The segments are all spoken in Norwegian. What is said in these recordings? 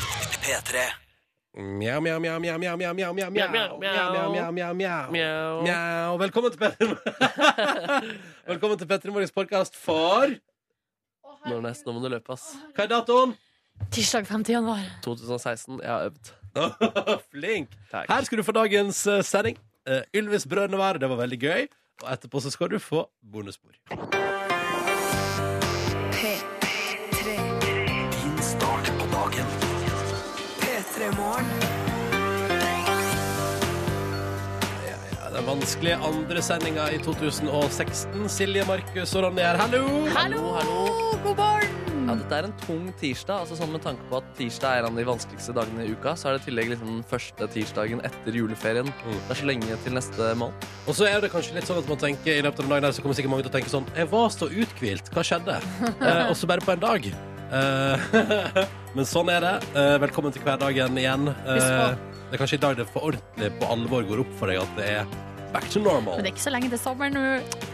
P3. Mjau, mjau, mjau, mjau, mjau, mjau, mjau, mjau, Mjau, mjau, mjau, mjau, mjau, mjau, mjau, Mjau. mjau. Velkommen til Petter Velkommen til Petter Morgens podkast for Når nest, nå må du løpe, ass. Hva er datoen? Tirsdag 5. januar. 2016. Jeg har øvd. Flink! Takk. Her skal du få dagens eh, sending. Eh, Ylvis brødrene var, det var veldig gøy. Og etterpå så skal du få bonusspor. Din start på dagen. P3 Morgen. Ja, den vanskelige andre sendinga i 2016. Silje, Markus og Ronny her, hallo! Hallo, hallo. god morgen! Ja, dette er en tung tirsdag. altså sånn Med tanke på at tirsdag er en av de vanskeligste dagene i uka, så er det i tillegg liksom den første tirsdagen etter juleferien. Mm. Det er så lenge til neste måned. Og så er det kanskje litt sånn at man tenker i løpet av den dagen her, så kommer sikkert mange til å tenke sånn Jeg var så uthvilt, hva skjedde? Eh, og så bare på en dag. Eh, men sånn er det. Eh, velkommen til hverdagen igjen. Eh, Husk det er kanskje i dag det for ordentlig på alvor går opp for deg at det er back to normal. Men det er ikke så lenge til sommeren nå.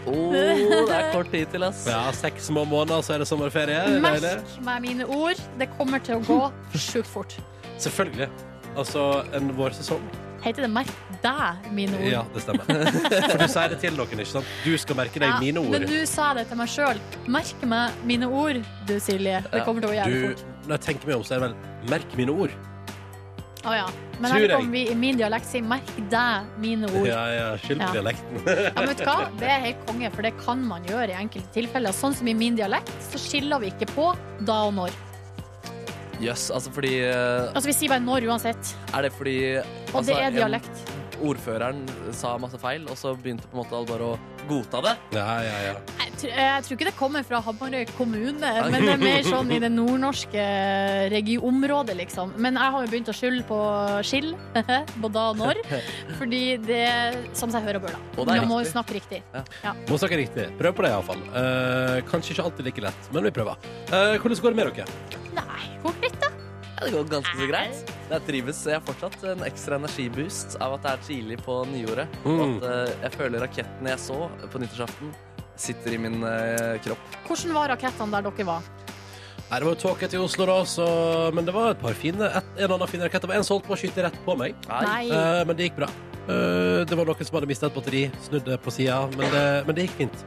Oh, det er kort tid til, ass. Ja, seks små måneder, så er det sommerferie. Deilig. Merk meg mine ord. Det kommer til å gå sjukt fort. Selvfølgelig. Altså en vårsesong. Heter det 'merk deg mine ord'? Ja, det stemmer. For du sier det til noen, ikke sant? Du skal merke deg Ja, mine ord. Men du sa det til meg sjøl. Merk meg mine ord, du Silje. Det Ja. kommer til å gå jævlig Du, fort. når jeg tenker meg om, så er det vel merk mine ord. Å ja. Men Tror her jeg. kommer vi i min dialekt sier 'merk deg mine ord'. Ja. Ja, ja, skyld på Ja. dialekten. men vet du hva? Det er helt konge, for det kan man gjøre i enkelte tilfeller. Sånn som i min dialekt, så skiller vi ikke på da og når. Jøss, altså fordi eh, Altså Vi sier bare 'når' uansett. Er det fordi Og altså, det er en- dialekt. Ordføreren sa masse feil, og så begynte på en måte alle bare å godta det. Ja, ja, ja. Jeg, tr eh, jeg tror ikke det kommer fra Hamarøy kommune, men det er mer sånn i det nordnorske regi- området, liksom. Men jeg har jo begynt å skylde på skill, på da og når, fordi det sånn som seg hør og bør, da. Og det er Man må jo riktig. snakke riktig. Må snakke riktig. Prøv på det, iallfall. Uh, kanskje ikke alltid like lett, men vi prøver. Eh, hvordan går det med dere? Nei, hvor greit, da? Ja, det går ganske så greit. Jeg trives. Jeg har fortsatt en ekstra energiboost av at det er tidlig på nyåret. Og Mm. at eh, jeg føler rakettene jeg så på nyttårsaften, sitter i min eh, kropp. Hvordan var rakettene der dere var? Nei, det var jo tåke til Oslo, da, så Men det var et par fine et, En og annen fin rakett. Det var en som holdt på å skyte rett på meg, Nei. Eh, men det gikk bra. Eh, det var noen som hadde mista et batteri, snudde på sida, men, det- men det gikk fint.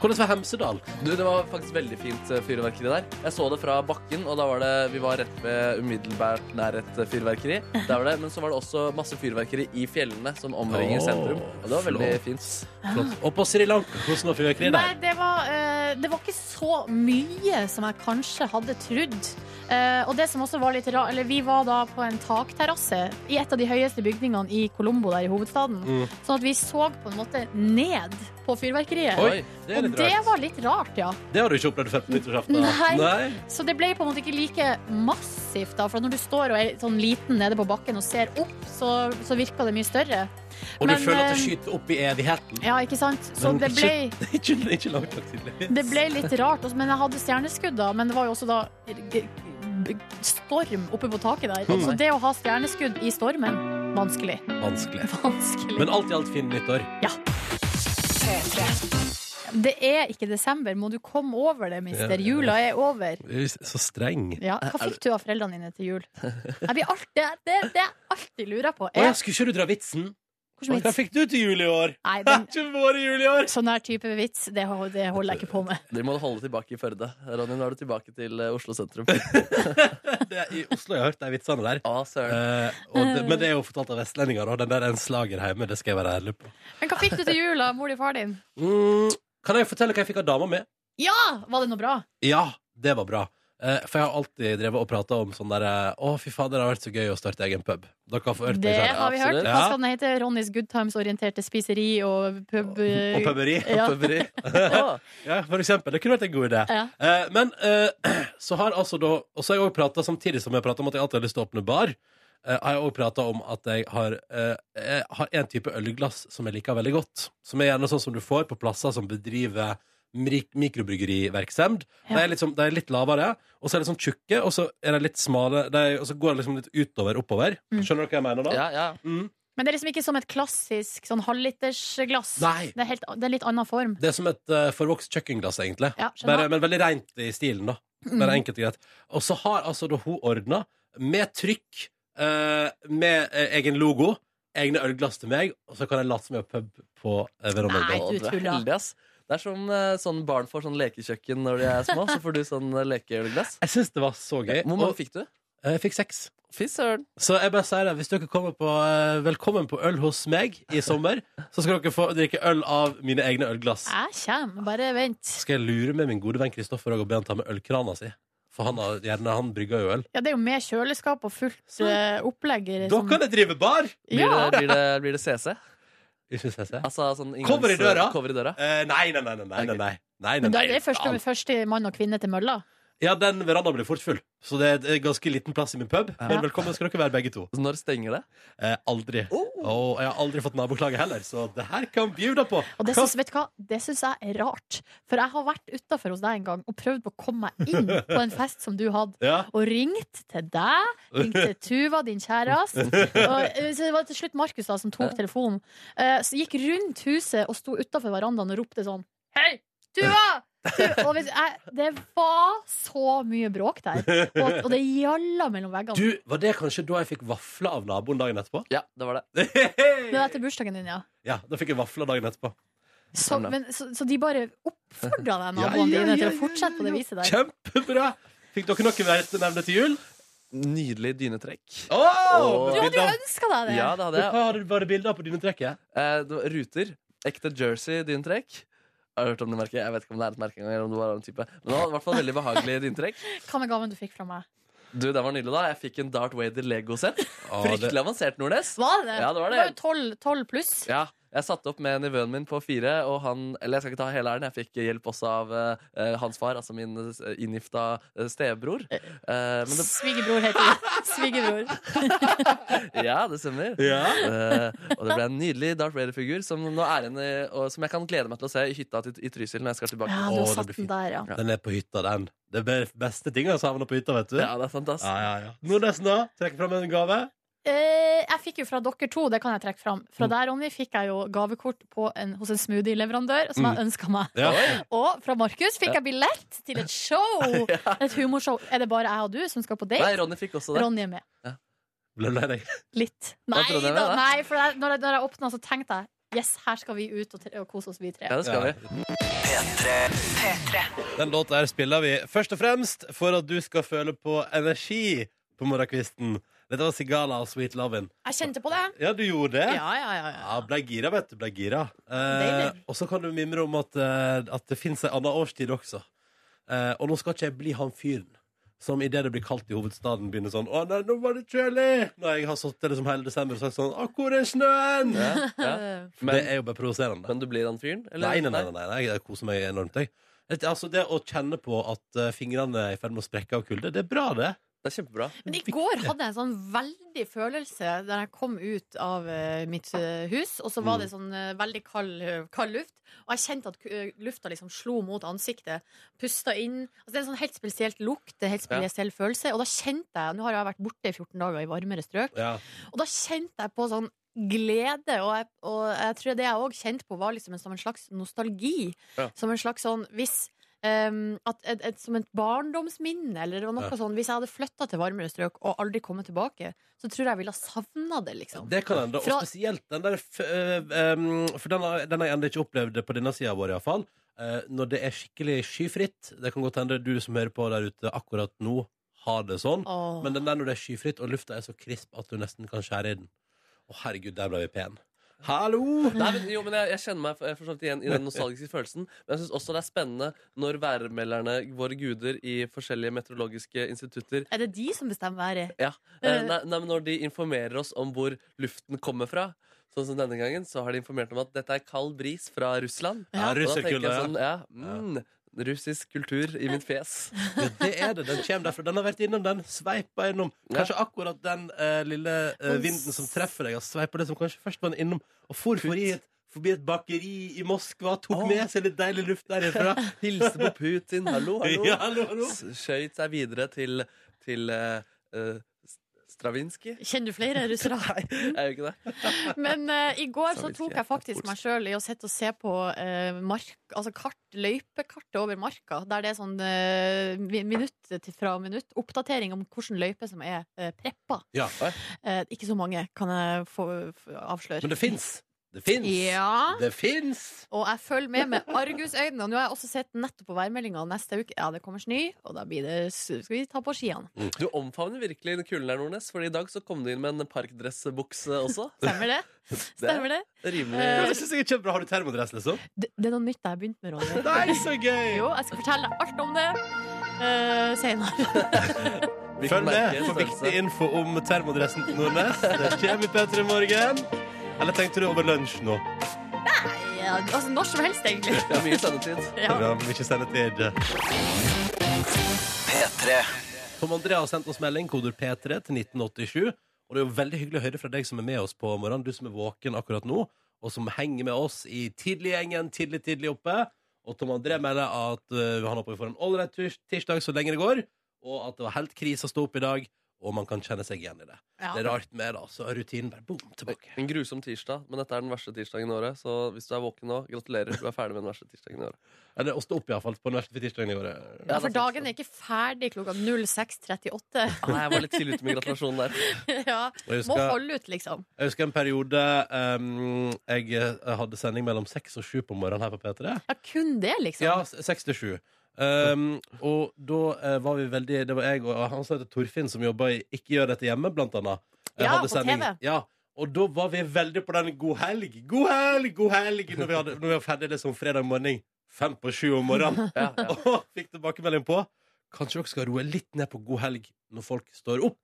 Hvordan var Hemsedal? Du, det var faktisk veldig fint eh, fyrverkeri der. Jeg så det fra bakken, og da var det Vi var rett ved umiddelbart nær et eh, fyrverkeri. Der var det, men så var det også masse fyrverkeri i fjellene som omringer Åh, sentrum. Og det var veldig flott. fint. Flott. Og på Sri Lanka, hvordan var fyrverkeriet Ah. Nei, der? det var, eh, det var ikke så mye som jeg kanskje hadde trodd. Eh, og det som også var litt ra- eller Vi var da på en takterrasse i et av de høyeste bygningene i Colombo, der i hovedstaden. Mm. Sånn at vi så på en måte ned på fyrverkeriet. Oi, det er og litt det rart. var litt rart, ja. Det har du ikke opplevd før på nyttårsaften? da? Nei. Nei? Så det ble på en måte ikke like massivt, da. For når du står og er sånn liten nede på bakken og ser opp, så, så virker det mye større. Og Men, du føler at eh, det skyter opp i evigheten? Ja, ikke sant? Så Men det ble ikke- ikke, ikke langt nok, tydeligvis. Det ble litt rart, også, men jeg hadde stjerneskudd da. Men det var jo også da g- g- storm oppe på taket der. Mm. Så det å ha stjerneskudd i stormen, vanskelig. Vanskelig. Vanskelig. Men alt i alt fin nyttår. Det er ikke desember, må du komme over det, Ja, ja, mister. ja. Jula er over. Så streng. Ja. Hva fikk du av foreldrene dine til jul? Jeg blir alt, det, det, det er alltid lurer på. Å, ja, Er, skulle ikke du dra vitsen? hvordan Hva vits? fikk du til jul i år? Nei, Det den, er ikke vår jul i år! sånn her type vits, det, ho- det holder jeg ikke på med. De må holde tilbake i Førde. Ronny, nå er du tilbake til eh, Oslo sentrum. Det er, I Oslo har jeg hørt de vitsene der. Å, søren. Eh, og det, men det er jo fortalt av vestlendinger, og den der er en slager hjemme. Det skal jeg være ærlig på. Men hva fikk du til jul av mor og far din? Mm, kan jeg fortelle hva jeg fikk av dama mi? Ja! Var det noe bra? Ja, det var bra. Eh, for jeg har alltid drevet og prata om sånn derre Å, fy fader, det har vært så gøy å starte egen pub. Dere har fått hørt Det det selv. har vi hørt. Absolutt. Hva skal den hete? Ronnys Good Times-orienterte spiseri og pub... Og puberi. Ja. Pøveri. Å, Ja, for eksempel. Det kunne vært en god idé. Ja. Eh, men eh, så har altså da Og så har jeg òg prata samtidig som jeg pratet om at jeg alltid har lyst til å åpne bar. eh, har jeg òg prata om at jeg har, eh, jeg har en type ølglass som jeg liker veldig godt. Som er gjerne sånn som du får på plasser som bedriver mik mikrobryggeriverksemd. Ja. De, er litt sånn- de er litt lavere, og så er de sånn tjukke, og så er de litt smale, de, og så går de liksom litt utover oppover. Mm. Skjønner dere hva jeg mener da? Ja, ja. Mm. Men det er liksom ikke som et klassisk sånn halvlitersglass. Nei. Det er, helt, det er litt annen form. Det er som et eh, forvokst kjøkkenglass, egentlig. Ja, skjønner. Mm. Bare, men veldig rent i stilen, da. Bare enkelt og greit. Og så har altså da hun ordna med trykk, eh, med eh, egen logo, egne ølglass til meg, og så kan jeg late som jeg er pub på eh, Verona Nei, Ungdom. Å, du er tuller. heldig, ass. Det er som eh, sånn barn får sånn lekekjøkken når de er små. Så får du sånn eh, lekeølglass. Jeg syns det var så gøy. Hvor mange og fikk du? eh, jeg fikk seks. Fy søren. Så jeg bare sier det, hvis dere kommer på eh, Velkommen på øl hos meg i sommer, så skal dere få drikke øl av mine egne ølglass. Jeg kommer, bare vent. Så skal jeg lure med min gode venn Kristoffer og be han ta med ølkrana si. For han, har, gjerne, han brygger jo øl. Ja, det er jo med kjøleskap og fullt eh, opplegg. i det Da som- kan jeg drive bar! Blir, Ja. det, blir, det, blir det CC? Ikke synes jeg. Altså sånn inngangs- Cover i døra. Cover i døra. Eh, nei, nei, nei, nei, nei, nei, nei. nei, nei, Men da er nei. det første, første mann og kvinne til mølla. Ja, den verandaen blir fort full. Så det er en ganske liten plass i min pub. Ja. Men velkommen skal dere være, begge to. Så når stenger det? Eh, aldri. Oh. Og jeg har aldri fått naboklage heller, så det her kan bjuda på. Og det Hva- syns, vet du hva? Det syns jeg er rart. For jeg har vært utafor hos deg en gang og prøvd å komme meg inn på en fest som du hadde. Ja. Og ringt til deg, ringt til Tuva, din kjæreste. Og, eh, Så det var til slutt Markus da som tok telefonen. Eh, Så gikk rundt huset og sto utafor verandaen og ropte sånn Hei, Tuva! Tu- Og vet du, jeg, det var så mye bråk der. Og, og det gjalla mellom veggene. Du, Var det kanskje da jeg fikk vafler av naboen dagen etterpå? Ja, det var det. Det var etter bursdagen din, ja. Ja, da fikk jeg vafler dagen etterpå. Så, Stemmer. men, så, så de bare oppfordra Ja, deg, naboene ja, dine, ja, til å ja, fortsette på det viset der? Kjempebra! Fikk dere noe vertenevne til jul? Nydelig dynetrekk. Oh, Åh. Du hadde jo ønska deg det! Ja, det hadde Hva jeg. har du bare bilder av på dynetrekket? Eh, det var ruter. Ekte jersey dynetrekk. Jeg har hørt om det merket. Jeg vet ikke om det er et merke engang. eller om det var en type. Men det var i hvert fall veldig behagelig dynetrekk. Hva med gaven du fikk fra meg? Du, Den var nydelig, da. Jeg fikk en Dart Wader Lego-sett. Ah, det- Fryktelig avansert, Nordnes. Var det Ja, det var det. jo tolv, tolv pluss. Ja, jeg satte opp med nivøen min på fire, og han Eller jeg skal ikke ta hele æren, jeg fikk hjelp også av eh, hans far, altså min eh, inngifta eh, stebror. Eh, men det, Svigerbror heter det. Svigerbror. ja, det stemmer. Ja. Eh, og det ble en nydelig Darth Vader-figur som, nå er en, eh, og som jeg kan glede meg til å se i hytta til, i Trysil når jeg skal tilbake. Ja, Ja, Å, du har det satt blir den fint. der, ja. Den er på hytta, den. Det er be- beste tinga som havner på hytta, vet du. Ja, det er fantastisk. ja, ja. Nordnesen, da? Trekker fram en gave. Eh, jeg fikk jo fra dere to, det kan jeg trekke fram. Fra Mm. der Ronny, fikk jeg jo gavekort på en, hos en smoothie-leverandør, som Mm. jeg ønska meg. Ja. Og fra Markus fikk jeg billett til et show! Et humorshow. Er det bare jeg og du som skal på Nei, date? Ronny fikk også det. Ronny er med. Ble du lei deg? Litt. Nei, Jeg trodde jeg da, var det. nei for jeg, når jeg, når jeg åpna, så tenkte jeg Yes, her skal vi ut og, tre- og kose oss, vi tre. Ja, det skal Ja. vi. Den låta her spiller vi først og fremst for at du skal føle på energi på morgenkvisten. Dette var Sigala og Sweet Lovin'. Jeg kjente på det. Ja, du gjorde det? Ja, ja, ja, ja. Ja, blei gira, vet du. Blei gira. Eh, Deilig. og så kan du mimre om at, eh, at det fins ei anna årstid også. Eh, og nå skal ikke jeg bli han fyren som idet det blir kaldt i hovedstaden, begynner sånn 'Å nei, nå var det kjølig!' Når jeg har sittet liksom hele desember og sagt sånn 'Å, hvor er snøen?' Ja, ja. det Men, er jo bare provoserende. men du blir han fyren? eller? Nei, nei, nei, nei, nei, jeg koser meg enormt, jeg. Det- Altså, det å kjenne på at eh, fingrene er i ferd med å sprekke av kulde, det er bra, det. Det er kjempebra. Men i går hadde jeg en sånn veldig følelse der jeg kom ut av eh, mitt eh, hus, og så var det sånn eh, veldig kald, eh, kald luft, og jeg kjente at eh, lufta liksom slo mot ansiktet, pusta inn. Altså, det er en sånn helt spesielt lukt, en helt Ja. spesiell følelse, og da kjente jeg Nå har jeg vært borte i 14 dager i varmere strøk. Ja. Og da kjente jeg på sånn glede, og jeg, og jeg tror det jeg òg kjente på, var liksom en, som en slags nostalgi. Ja. Som en slags sånn hvis ehm, at, et, et, Som et barndomsminne, eller det var noe Ja. sånn. Hvis jeg hadde flytta til varmere strøk og aldri kommet tilbake, så tror jeg jeg ville ha savna det, liksom. Det kan hende, og Fra- spesielt den der f- øh, ehm, For den har, den har jeg ennå ikke opplevd på denne sida vår, iallfall. Uh, når det er skikkelig skyfritt. Det kan godt hende du som hører på der ute akkurat nå, har det sånn. Åh. Men den der når det er skyfritt, og lufta er så krisp at du nesten kan skjære i den. Å, herregud, der ble vi pen. Hallo! Nei, men, jo, men jeg, jeg kjenner meg for, for så vidt igjen i den nostalgiske følelsen. Men jeg syns også det er spennende når værmelderne, våre guder i forskjellige meteorologiske institutter Er det de som bestemmer været? ja, eh, nei, nei, men Når de informerer oss om hvor luften kommer fra, sånn som denne gangen, så har de informert om at dette er kald bris fra Russland. Ja, Og da tenker russekulde. jeg ja. sånn, ja, mm, Russisk kultur i mitt fjes. Ja, det er det. Den kommer derfra. Den har vært innom den. Sveipa innom. Kanskje akkurat den eh, lille eh, vinden som treffer deg, har sveipa det som kanskje først var den innom, og for forbi et, forbi et bakeri i Moskva, tok Åh. med seg litt deilig luft derifra. Hilse på Putin. Hallo, hallo. Ja, hallo, hallo. S- Skjøt seg videre til, til eh, eh, s- Stravinskij? Kjenner du flere russere? Nei, jeg gjør ikke det. Men eh, i går så Savilski tok er jeg faktisk meg sjøl i å sitte og se på eh, mark, altså kart, løypekartet over marka. Der det er sånn eh, mi- minutt til fra minutt oppdatering om hvilken løype som er eh, preppa. Ja. Eh, ikke så mange, kan jeg få, få avsløre. Men det fins. Det fins. Ja. Det fins. Og jeg følger med med argusøyne. Og nå har jeg også sett nettopp på værmeldinga neste uke. Ja, det kommer snø, og da blir det Skal vi ta på skiene? Du omfavner virkelig den kulen der, Nordnes, for i dag så kom du inn med en parkdressbukse også. Stemmer det? Stemmer det? Det Ja, er rimelig det synes jeg er kjempebra. Har du termodress, liksom? Det, det er noe nytt jeg har begynt med, Ronny. Nei, så gøy! Jo, jeg skal fortelle deg alt om det uh, senere. Vi kan Følg med merke for størrelse. viktig info om termodressen til Nordnes. Det kommer i P3 Morgen. Eller tenkte du over lunsj nå? Ja, altså, når som helst, egentlig. Det er mye sendetid. Ja. Bra, men ikke sendetid. P3 Tom André har sendt oss melding, koder P3 til 1987. Og det er jo veldig hyggelig å høre fra deg som er med oss på morgenen, du som er våken akkurat nå, og som henger med oss i tidliggjengen tidlig, tidlig oppe. Og Tom André melder at eh, han håper vi får en ålreit tirs- tirsdag så lenge det går, og at det var helt krise å stå opp i dag, og man kan kjenne seg igjen i det. Ja. Det er rart med det, altså. Rutinen bare boom, tilbake. En grusom tirsdag, men dette er den verste tirsdagen i året. Så hvis du er våken nå, gratulerer. Du er ferdig med den verste tirsdagen i året. Eller å stå opp, iallfall, på den verste tirsdagen i året. Ja, for dagen er ikke ferdig klokka 06.38. Nei, jeg var litt tidlig ute med gratulasjonen der. ja. Og jeg Må husker- holde ut, liksom. Jeg husker en periode um, jeg eh, hadde sending mellom seks og sju på morgenen her på P3. Ja, kun det, liksom. Ja, s- 67. Um, og da eh, var vi veldig Det var jeg og han som heter Torfinn, som jobba i Ikke gjør dette hjemme, blant annet. Eh, Ja, hadde på sending. TV. Ja, og da var vi veldig på den 'god helg', 'god helg', god helg når vi, hadde, når vi var ferdig liksom fredag morgen fem på sju om morgenen. Ja, ja. Og fikk tilbakemelding på Kanskje dere skal roe litt ned på 'god helg' når folk står opp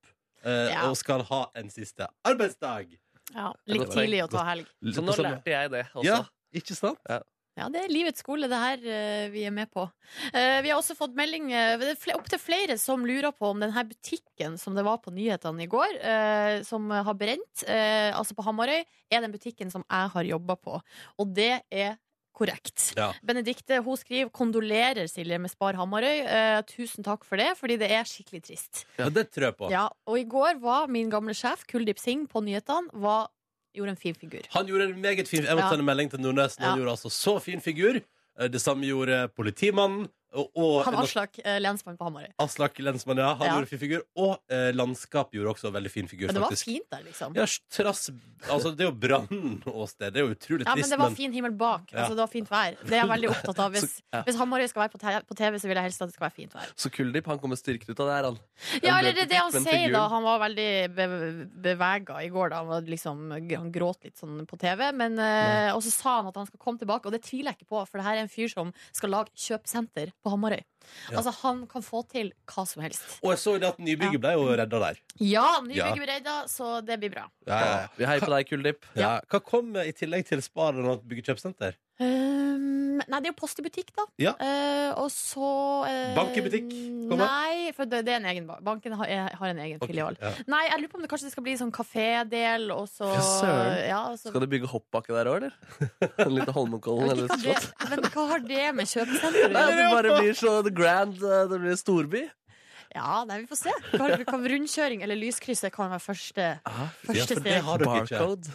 eh, Ja. og skal ha en siste arbeidsdag. Ja, litt tidlig å ta helg. Så nå lærte jeg det altså. også. sånn, Ja, ikke sant? Ja, det er livets skole, det her eh, vi er med på. Eh, vi har også fått melding eh, det er fl- opptil flere som lurer på om denne butikken som det var på nyhetene i går, eh, som har brent, eh, altså på Hamarøy, er den butikken som jeg har jobba på. Og det er korrekt. Ja. Benedikte hun skriver 'Kondolerer, Silje, med Spar Hamarøy'. Eh, tusen takk for det, fordi det er skikkelig trist. Ja, det tror jeg på. Ja, og i går var min gamle sjef, Kuldip Singh, på nyhetene, var, gjorde en fin figur. Han gjorde en meget fin Jeg måtte Ja. sende melding til Nordnes. men Han Ja. gjorde altså så fin figur. Eh, Det samme gjorde politimannen. Og, og Han Aslak, eh, lensmann på Hamarøy. Aslak Lensmann, ja. Han Ja. gjorde fin figur. Og eh, Landskap gjorde også en veldig fin figur, Men det var faktisk. fint der, liksom. Ja, trass Altså, det er jo brannåsted. Det er jo utrolig Ja, men trist, det var fin himmel bak. Ja. Altså, det var fint vær. Det er jeg veldig opptatt av. Hvis, ja. hvis Hamarøy skal være på, te- på TV, så vil jeg helst at det skal være fint vær. Så Kuldip han kommer styrket ut av det her, han. Ja, En eller bløt det, det han butikk, men sier, figuren- da. Han var veldig be bevega i går, da. Han, var liksom, han gråt litt sånn på TV. Men, eh, og så sa han at han skal komme tilbake, og det tviler jeg ikke på, for det her er en fyr som skal lage kjøpesenter på Hamarøy. Ja. Altså, han kan få til hva som helst. Og jeg så jo det at nybygget ble jo redda der. Ja, ny Ja. bygger redda, så det blir bra. Ja, ja, ja. Vi heier på deg, Kuldip. Ja. Hva kom eh, i tillegg til Spar og bygge kjøpesenter? Um, nei, det er jo post i butikk, da. Ja. Eh, og så eh, Bank i butikk, kommer. Nei, for det, det er en egen bank. Banken har, er- har en egen Ok, filial. ja. Nei, jeg lurer på om det kanskje det skal bli sånn kafédel, og så Ja, søren. ja, og så- Skal du bygge hoppbakke der òg, eller? En liten Holmenkollen Jeg vet eller et ikke hva slott? det- Men hva har det med kjøpesenter å Nei, gjøre? det bare blir så the grand. eh, Det blir storby. Ja, nei, vi får se. Hva, hva, rundkjøring eller lyskrysset kan være første. Ja, Første for det steg. har dere ikke. Barcode.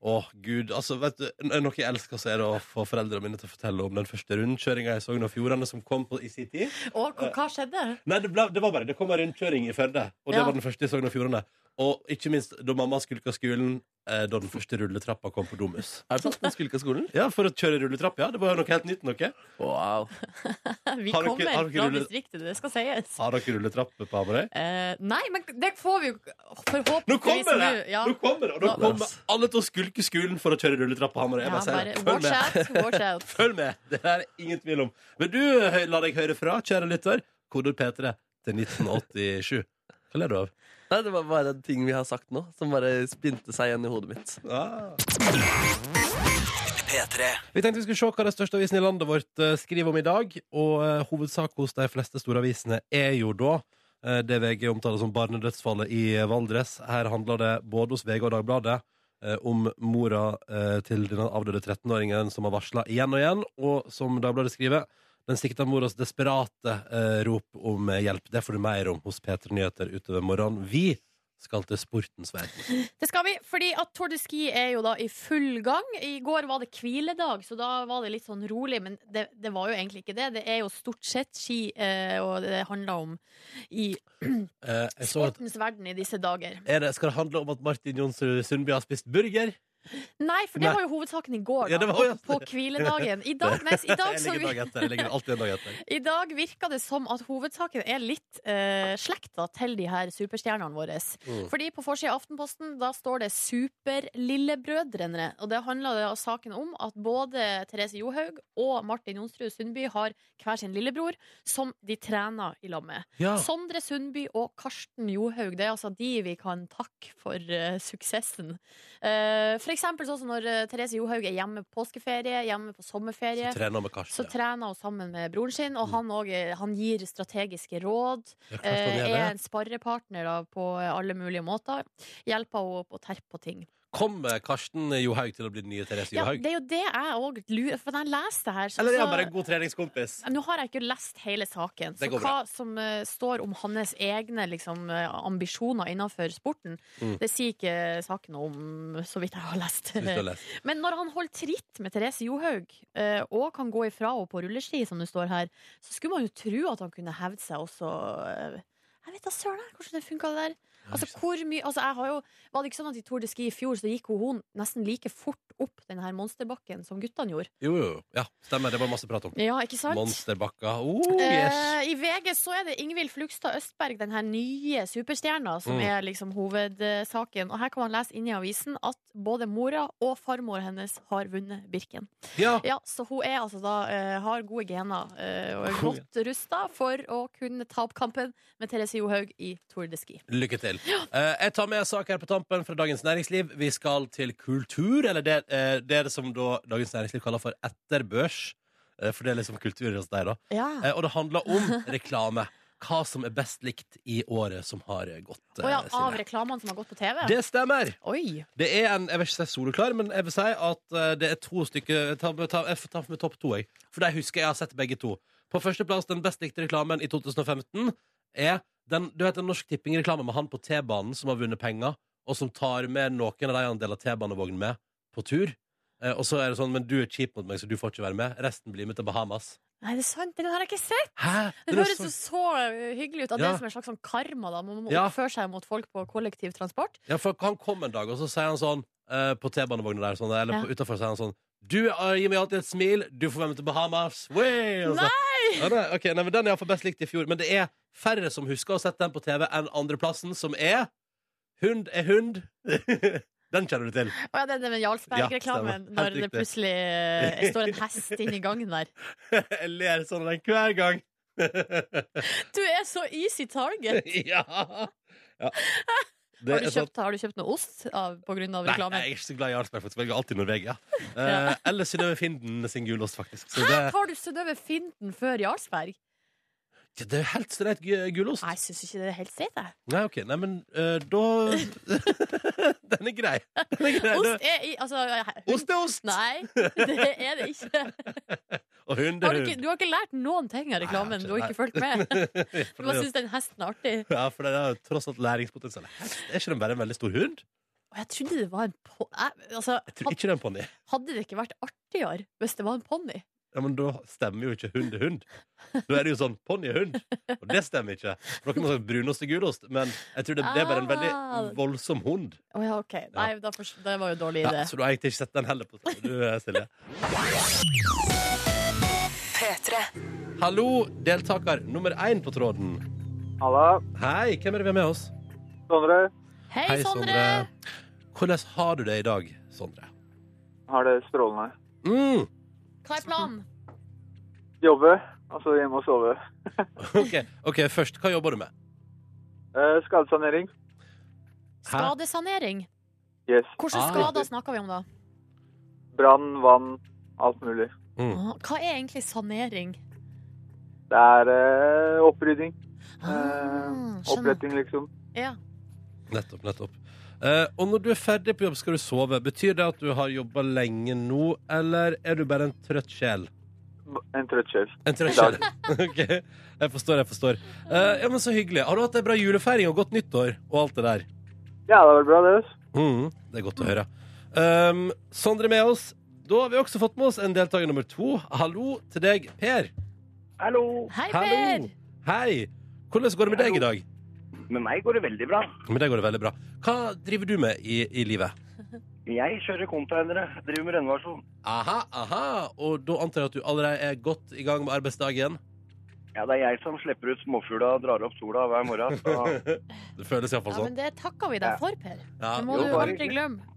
Å, gud. altså, vet du, n- Noe jeg elsker, så er det å få foreldrene mine til å fortelle om den første rundkjøringa i Sogn og Fjordane som kom på, i sin tid. Og hva, hva skjedde? Nei, det, ble, det var bare det kom en rundkjøring i Førde, og det Ja. var den første i Sogn og Fjordane. Og ikke minst da mamma skulka skolen eh, da den første rulletrappa kom på Domus. Er det sant? Den skulle ikke av skolen? Ja, for å kjøre rulletrapp, ja. Det var jo noe helt nytt, noe. Wow. Vi Har dere- kommer har dere fra rullet- distriktet, det skal sies. Har dere rulletrapp på Hamarøy? Eh, nei, men det får vi jo forhåpentligvis Nå kommer det! nå, Ja. Nå kommer det! Og nå Ja. kommer alle til å skulke skolen for å kjøre rulletrapp på Hamarøy. Jeg Ja, bare sier bare, det. Følg watch med. out, watch out. Følg med! Det er ingen tvil om. Vil du hø- la deg høre fra, kjære lytter? Kodord P3 til 1987. Hva ler du av? Nei, det var bare en ting vi har sagt nå, som bare spinte seg igjen i hodet mitt. Ah. P3 Vi tenkte vi skulle se hva den største avisen i landet vårt eh, skriver om i dag. Og eh, hovedsak hos de fleste store avisene er jo da eh, det VG omtaler som barnedødsfallet i Valdres. Her handler det både hos VG og Dagbladet eh, om mora eh, til den avdøde 13-åringen som har varsla igjen og igjen, og som Dagbladet skriver den sikta moras desperate eh, rop om eh, hjelp. Det får du mer om hos P3 Nyheter utover morgenen. Vi skal til sportens verden. Det skal vi, fordi at Tour de Ski er jo da i full gang. I går var det hviledag, så da var det litt sånn rolig, men det, det var jo egentlig ikke det. Det er jo stort sett ski, eh, og det handler om i Eh, jeg så at, sportens verden i disse dager. er det, skal det handle om at Martin Jonsrud Sundby har spist burger? Nei, for det Nei. var jo hovedsaken i går, da, Ja, det var jo- på hviledagen. I dag, nei, i dag, jeg så, ligger en dag etter. Jeg ligger alltid en dag etter. I dag virker det som at hovedsaken er litt eh, slekta til de her superstjernene våre. Mm. Fordi på forsida av Aftenposten da står det 'Superlillebrødrene'. Og det handler da saken om at både Therese Johaug og Martin Jonsrud Sundby har hver sin lillebror, som de trener i lag med. Ja. Sondre Sundby og Karsten Johaug. Det er altså de vi kan takke for eh, suksessen. Eh, for eksempel sånn som når eh, Therese Johaug er hjemme på påskeferie, hjemme på sommerferie. Så trener med Så Karsten. ja. trener hun sammen med broren sin, og han, også, eh, han gir strategiske råd. Ja, Karsten, eh, det er Er det. en sparrepartner da, på eh, alle mulige måter. Hjelper henne opp og terper på ting. Kommer Karsten Johaug til å bli den nye Therese Ja, Johaug? det er jo det jeg òg lurer For når jeg leser det her så, Eller er han så- bare en god treningskompis? Nå har jeg ikke lest hele saken, så Det går hva som eh, står om hans egne liksom, eh, ambisjoner innenfor sporten, Mm. det sier ikke saken noe om, så vidt jeg har lest. Hvis du har lest. Men når han holder tritt med Therese Johaug, eh, og kan gå ifra henne på rulleski, som det står her, så skulle man jo tro at han kunne hevde seg også eh, Jeg vet da søren, jeg, kanskje det funka, det der. Altså, hvor mye altså, jeg har jo, Var det ikke sånn at i Tour de Ski i fjor så gikk hun- hun nesten like fort opp den her monsterbakken som guttene gjorde? Jo, jo, jo. Ja, stemmer. Det var masse prat om. Ja, ikke sant? Monsterbakka. Oh, yes. Eh, I VG så er det Ingvild Flugstad Østberg, den her nye superstjerna, som Mm. er liksom hovedsaken. Og her kan man lese inne i avisen at både mora og farmor hennes har vunnet Birken. Ja. Ja, Så hun er altså da eh, har gode gener eh, og er godt rusta for å kunne ta opp kampen med Therese Johaug i Tour de Ski. Lykke til. Eh, jeg tar med en sak her på tampen fra Dagens Næringsliv. Vi skal til kultur, eller det, eh, det er det som da Dagens Næringsliv kaller for etterbørs. Eh, for det er liksom kultur hos deg, da. Ja. Eh, og det handler om reklame. Hva som er best likt i året som har eh, gått. eh, Og ja, Silje. av reklamene som har gått på TV? det stemmer! Oi! Det er en, Jeg vil ikke si soleklar, men jeg vil si at eh, det er to stykker ta, ta, Jeg får ta med topp to, jeg. For de husker jeg har sett begge to. På førsteplass, den best likte reklamen i 2015 er den, du vet, den Norsk Tipping-reklame med han på T-banen som har vunnet penger, og som tar med noen av de han deler T-banevogn med, på tur. Eh, og så er det sånn Men du er kjip mot meg, så du får ikke være med. Resten blir med til Bahamas. Nei, det er sant, den har jeg ikke sett! Hæ? Det er høres så- jo så eh, hyggelig ut. At Det Ja. er som en slags sånn karma. da Man må Ja. oppføre seg mot folk på kollektivtransport. Ja, for han kom en dag, og så sier han sånn eh, på T-banevogna der, sånn, eller Ja. på, utenfor, sier han sånn Du eh, gir meg alltid et smil, du får være med til Bahamas. Way! Og så- Ja, nei, ok, nei, men den er iallfall best likt i fjor. Men det er færre som husker å ha sett den på TV enn andreplassen, som er Hund er hund. den kjenner du til. Å ja, det er det med Jarlsberg-reklamen. Ja, stemmer. når Helt det riktig. plutselig eh, står en hest inne i gangen der. Jeg ler sånn av den hver gang. Du er så easy target! ja. ja. Det Har du er sånn- kjøpt, har du kjøpt noe ost av, på grunn av Nei, reklamen? jeg er ikke så glad i Jarlsberg, faktisk. Jeg velger alltid Norvegia. Eh, eller Synnøve Finden sin gulost, faktisk. Så det, Tar du Synnøve Finden før Jarlsberg? Ja, det er jo helt streit gu- gulost. Nei, jeg syns ikke det er helt streit, jeg. Nei, ok, nei, men eh, da Den er grei. Den er grei. Ost er i Altså hund- ost er ost! Nei, det er det ikke. Og hund Har er du, ikke. hund. du har ikke lært noen Nei, jeg ting av har reklamen. ikke- Du har nei. ikke fulgt med. Du For det bare er jo- syns den hesten er artig. Ja, for det er jo tross alt læringspotensial. Hest, er ikke den bare en veldig stor hund? Og jeg trodde det var en po... jeg- Altså, Jeg tror ikke det er en ponni. hadde det ikke vært artigere hvis det var en ponni? Ja, men da stemmer jo ikke hund er hund. Da er det jo sånn ponni er hund, og det stemmer ikke. For dere må sagt brunost og gulost, men jeg tror det, det er bare en veldig voldsom hund. Å ja, OK. Nei, da forst- Ah. det var jo en dårlig idé. Ja, så du har egentlig ikke sett den heller på du, eh, Silje. Hallo, deltaker nummer én på tråden. Halla, Hei, hvem er det vi har med oss? Sondre. Hei, Sondre! Hvordan har du det i dag, Sondre? Har det strålende. Mm, Hva er planen? Jobbe, altså hjemme og sove. ok, ok, først, hva jobber du med? Eh, skadesanering. Hæ? Skadesanering. Yes. Hvilke Ah. skader snakker vi om da? Brann, vann, alt mulig. Mm. Ah, Hva er egentlig sanering? Det er eh, opprydding. Ah, Eh, skjønner. oppretting, liksom. Ja. Nettopp, nettopp. Eh, og når du er ferdig på jobb, skal du sove. Betyr det at du har jobba lenge nå, eller er du bare en trøtt sjel? En trøtt sjel. En trøtt I sjel. dag. ok, jeg forstår, jeg forstår. Eh, ja, men Så hyggelig. Har du hatt ei bra julefeiring og godt nyttår og alt det der? Ja, det har vært bra, det. ass. Mm, det er godt å høre. Um, Sondre er med oss. Da har vi også fått med oss en deltaker nummer to. Hallo til deg, Per. Hallo! Hei, Per! Hallo. Hei. Hvordan går det med deg i dag? Med meg går det veldig bra. Med deg går det veldig bra. Hva driver du med i, i livet? Jeg kjører containere, driver med renovasjon. Aha, aha. Og da antar jeg at du allerede er godt i gang med arbeidsdagen. Ja, det er jeg som slipper ut småfugla og drar opp sola hver morgen. Så Det føles iallfall Ja, men sånn. det takker vi deg for, Per. Ja. Det må jo, du bare aldri glemme.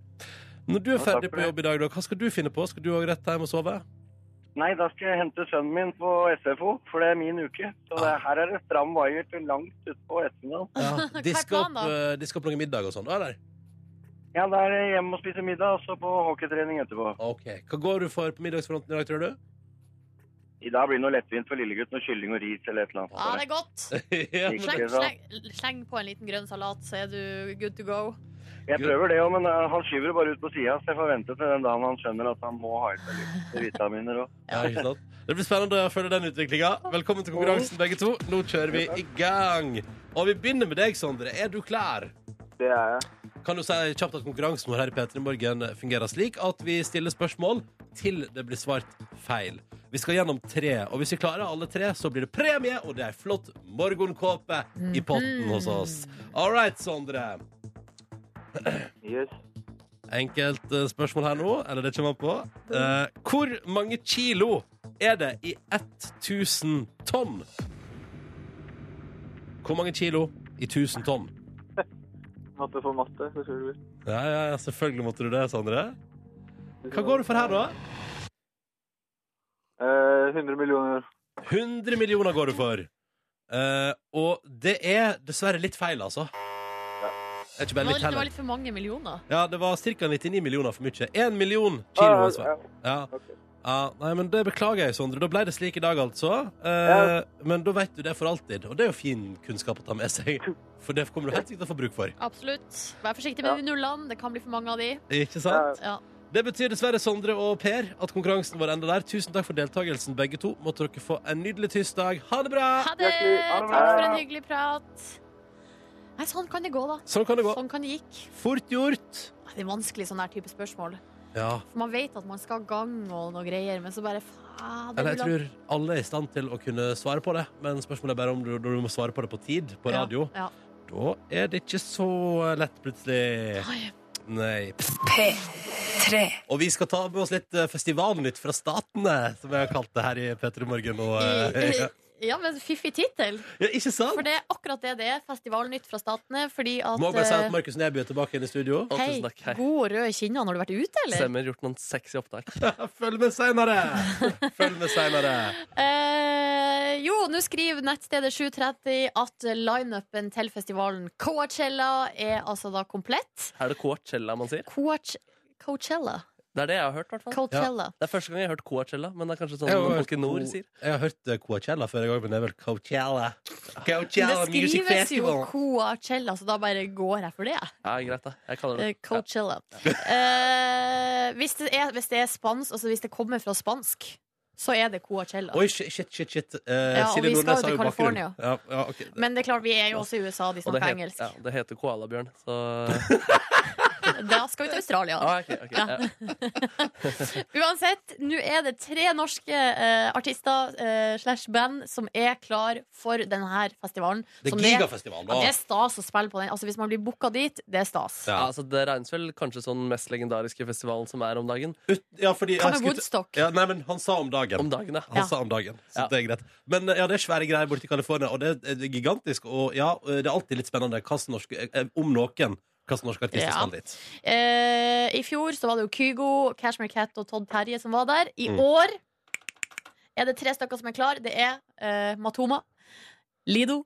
Når du er Ja, takk ferdig for på det. jobb i dag, da, hva skal du finne på? Skal du òg rett hjem og sove? nei, da skal jeg hente sønnen min på SFO, for det er min uke. Så det, her er det stram vaier til langt utpå ettermiddagen. Ja. Hva er Diske planen, opp, da? eh, diske opp noe middag og sånn, da, eller? Ja, da er det hjemme og spise middag, og så på hockeytrening etterpå. OK. Hva går du for på middagsfronten i dag, tror du? I dag blir det noe lettvint for lillegutt, noe kylling og ris eller et eller annet. Ja, det er godt. ja, men- Sleng, Ikke sant? sleng, sleng på en liten grønn salat, så er du good to go. Jeg prøver det òg, men eh, han skyver det bare ut på sida, så jeg får vente til den dagen han skjønner at han må ha i seg litt vitaminer òg. Ja, ikke sant? Det blir spennende å følge den utviklinga. Velkommen til Oh. konkurransen, begge to. Nå kjører vi i gang. Og vi begynner med deg, Sondre. Er du klar? Det er jeg. Kan du si kjapt at konkurransen vår her i P3 Morgen fungerer slik at vi stiller spørsmål til det blir svart feil. Vi skal gjennom tre, og hvis vi klarer alle tre, så blir det premie, og det er flott morgenkåpe i potten hos oss. All right, Sondre. Yes. Enkelt eh, spørsmål her nå, eller det kommer an på. Eh, hvor mange kilo er det i 1000 tonn? Hvor mange kilo i 1000 tonn? Måtte få matte. så skulle du- Ja, ja, ja, selvfølgelig måtte du det, Sondre. Hva går du for her, da? Eh, 100 millioner. 100 millioner går du for. Eh, og det er dessverre litt feil, altså. Det er ikke Det bare var, litt det var heller. litt for mange millioner. Ja, det var ca. 99 millioner for mye. Én million Ah, kilo. altså. ja, Ja. Ok. Ja, nei, men Det beklager jeg, Sondre. Da ble det slik i dag, altså. Eh, Ja. Men da vet du det for alltid. Og det er jo fin kunnskap å ta med seg. For det kommer du helt sikkert til å få bruk for. Absolutt. Vær forsiktig med Ja. de nullene. Det kan bli for mange av de. Ikke ja. sant? Ja. Det betyr dessverre, Sondre og Per, at konkurransen vår ender der. Tusen takk for deltakelsen, begge to. Måtte dere få en nydelig tirsdag. Ha det bra! Ha det! Hjertelig. Ha det Takk bra. for en hyggelig prat. Nei, sånn kan det gå, da. Sånn kan det gå. Sånn kan det gikk. Fort gjort. Det er vanskelig sånn her type spørsmål. Ja. For Man vet at man skal ha gang og noe greier, men så bare faen, det Eller er jeg jo langt. tror alle er i stand til å kunne svare på det, men spørsmålet er bare om du, når du må svare på det på tid, på radio. Ja. Da er det ikke så lett, plutselig. ja. Ai, Nei. Og vi skal ta med oss litt eh, Festivalnytt fra Statene, som jeg har kalt det her i P3 Morgen. Og, eh, ja. Ja, men fiffig tittel. ja, ikke For sant? det er akkurat det det er. Festivalnytt fra Statene. Fordi at Må bare si eh, at Markus Neby er tilbake igjen i studio. Å, Hei, tusen takk. Hei. god og rød i kinna når du har vært ute, eller? Semmer gjort noen sexy opptak. Følg med seinere! Følg med seinere. Eh, jo, nå skriver nettstedet 730 at lineupen til festivalen Coachella er altså da komplett. Er det Coachella man sier? Coach Coachella. Det er det jeg har hørt, i hvert fall. Coachella. Det er første gang jeg har hørt Coachella, men det er kanskje sånn Jeg har som hørt folk i nord Co- sier. Jeg har hørt eh, Coachella før, jeg òg, men det er vel Coachella. Det Coachella Music skrives jo Festival. Coachella, så da bare går jeg for det. Ja, greit, da. Jeg kaller det Eh, Coachella. Eh, hvis, det er, hvis det er spansk, altså hvis det kommer fra spansk, så er det Coachella. Oi, shit, shit, shit. shit. Eh, Ja, og Silje vi Nordnes skal jo har til jo bakgrunn. California. Ja, ja, ok. Men det er klart, vi er jo også i USA, Og de det snakker heter, engelsk. ja, det heter koalabjørn, så Da skal vi til Australia. ah, ok, ok, Ja. ja. Uansett, nå er det tre norske eh, artister eh, slash band som er klar for denne festivalen. Det Som er gigafestival, ja, da. det er stas å spille på den. Altså, hvis man blir booka dit, det er stas. Ja. Ja, altså, det regnes vel kanskje sånn mest legendariske festivalen som er om dagen. Ut, ja, fordi Hva jeg med skulle- Woodstock? Ja, nei, men han sa om dagen. Om dagen, ja. han Ja. sa om dagen, så Ja. det er greit. Men eh, ja, det er svære greier borte i California, og det er eh, gigantisk. Og ja, eh, det er alltid litt spennende hva som norsk, eh, eh, om noen hva som norske artister Ja. skal dit. Eh, I fjor så var det jo Kygo, Cashmere Cat og Todd Terje som var der. I Mm. år er det tre stykker som er klar. Det er eh, Matoma, Lido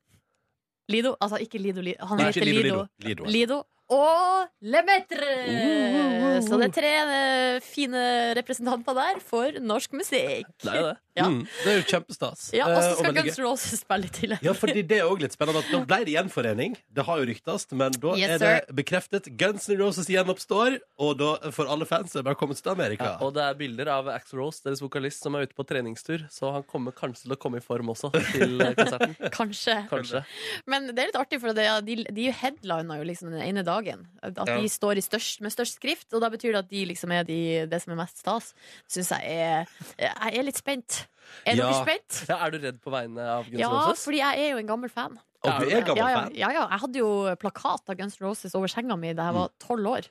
Lido, altså ikke Lido, Lido. han Nei, heter ikke Lido, Lido. Lido. Lido. Lido og Lemaitre! Uh, uh, uh. Så det er tre eh, fine representanter der for norsk musikk. Det er jo det. Ja. Mm, det er jo kjempestas. Ja, og Eh, så skal veldig gøy. Guns Roses spille i tillegg. Ja, fordi det er òg litt spennende. at Nå ble det gjenforening. Det har jo ryktes, men da Yes, er det bekreftet. Guns N' Roses gjenoppstår, og da for alle fans er det bare kommet til Amerika. Og det er bilder av Axl Rose, deres vokalist, som er ute på treningstur. Så han kommer kanskje til å komme i form også til eh, konserten. Kanskje. Kanskje. Men det er litt artig, for det, er- de, de headliner jo liksom den ene dagen. At de står i størst, med størst skrift, og da betyr det at de liksom er de, det som er mest stas. Syns jeg er Jeg er litt spent. Er Ja. dere spent? Ja, er du redd på vegne av Guns N' Ja, Roses? fordi jeg er jo en gammel fan. Og du er gammel ja, ja, fan. ja, ja. Jeg hadde jo plakat av Guns N' Roses over senga mi da jeg var Mm. tolv år. Jeg,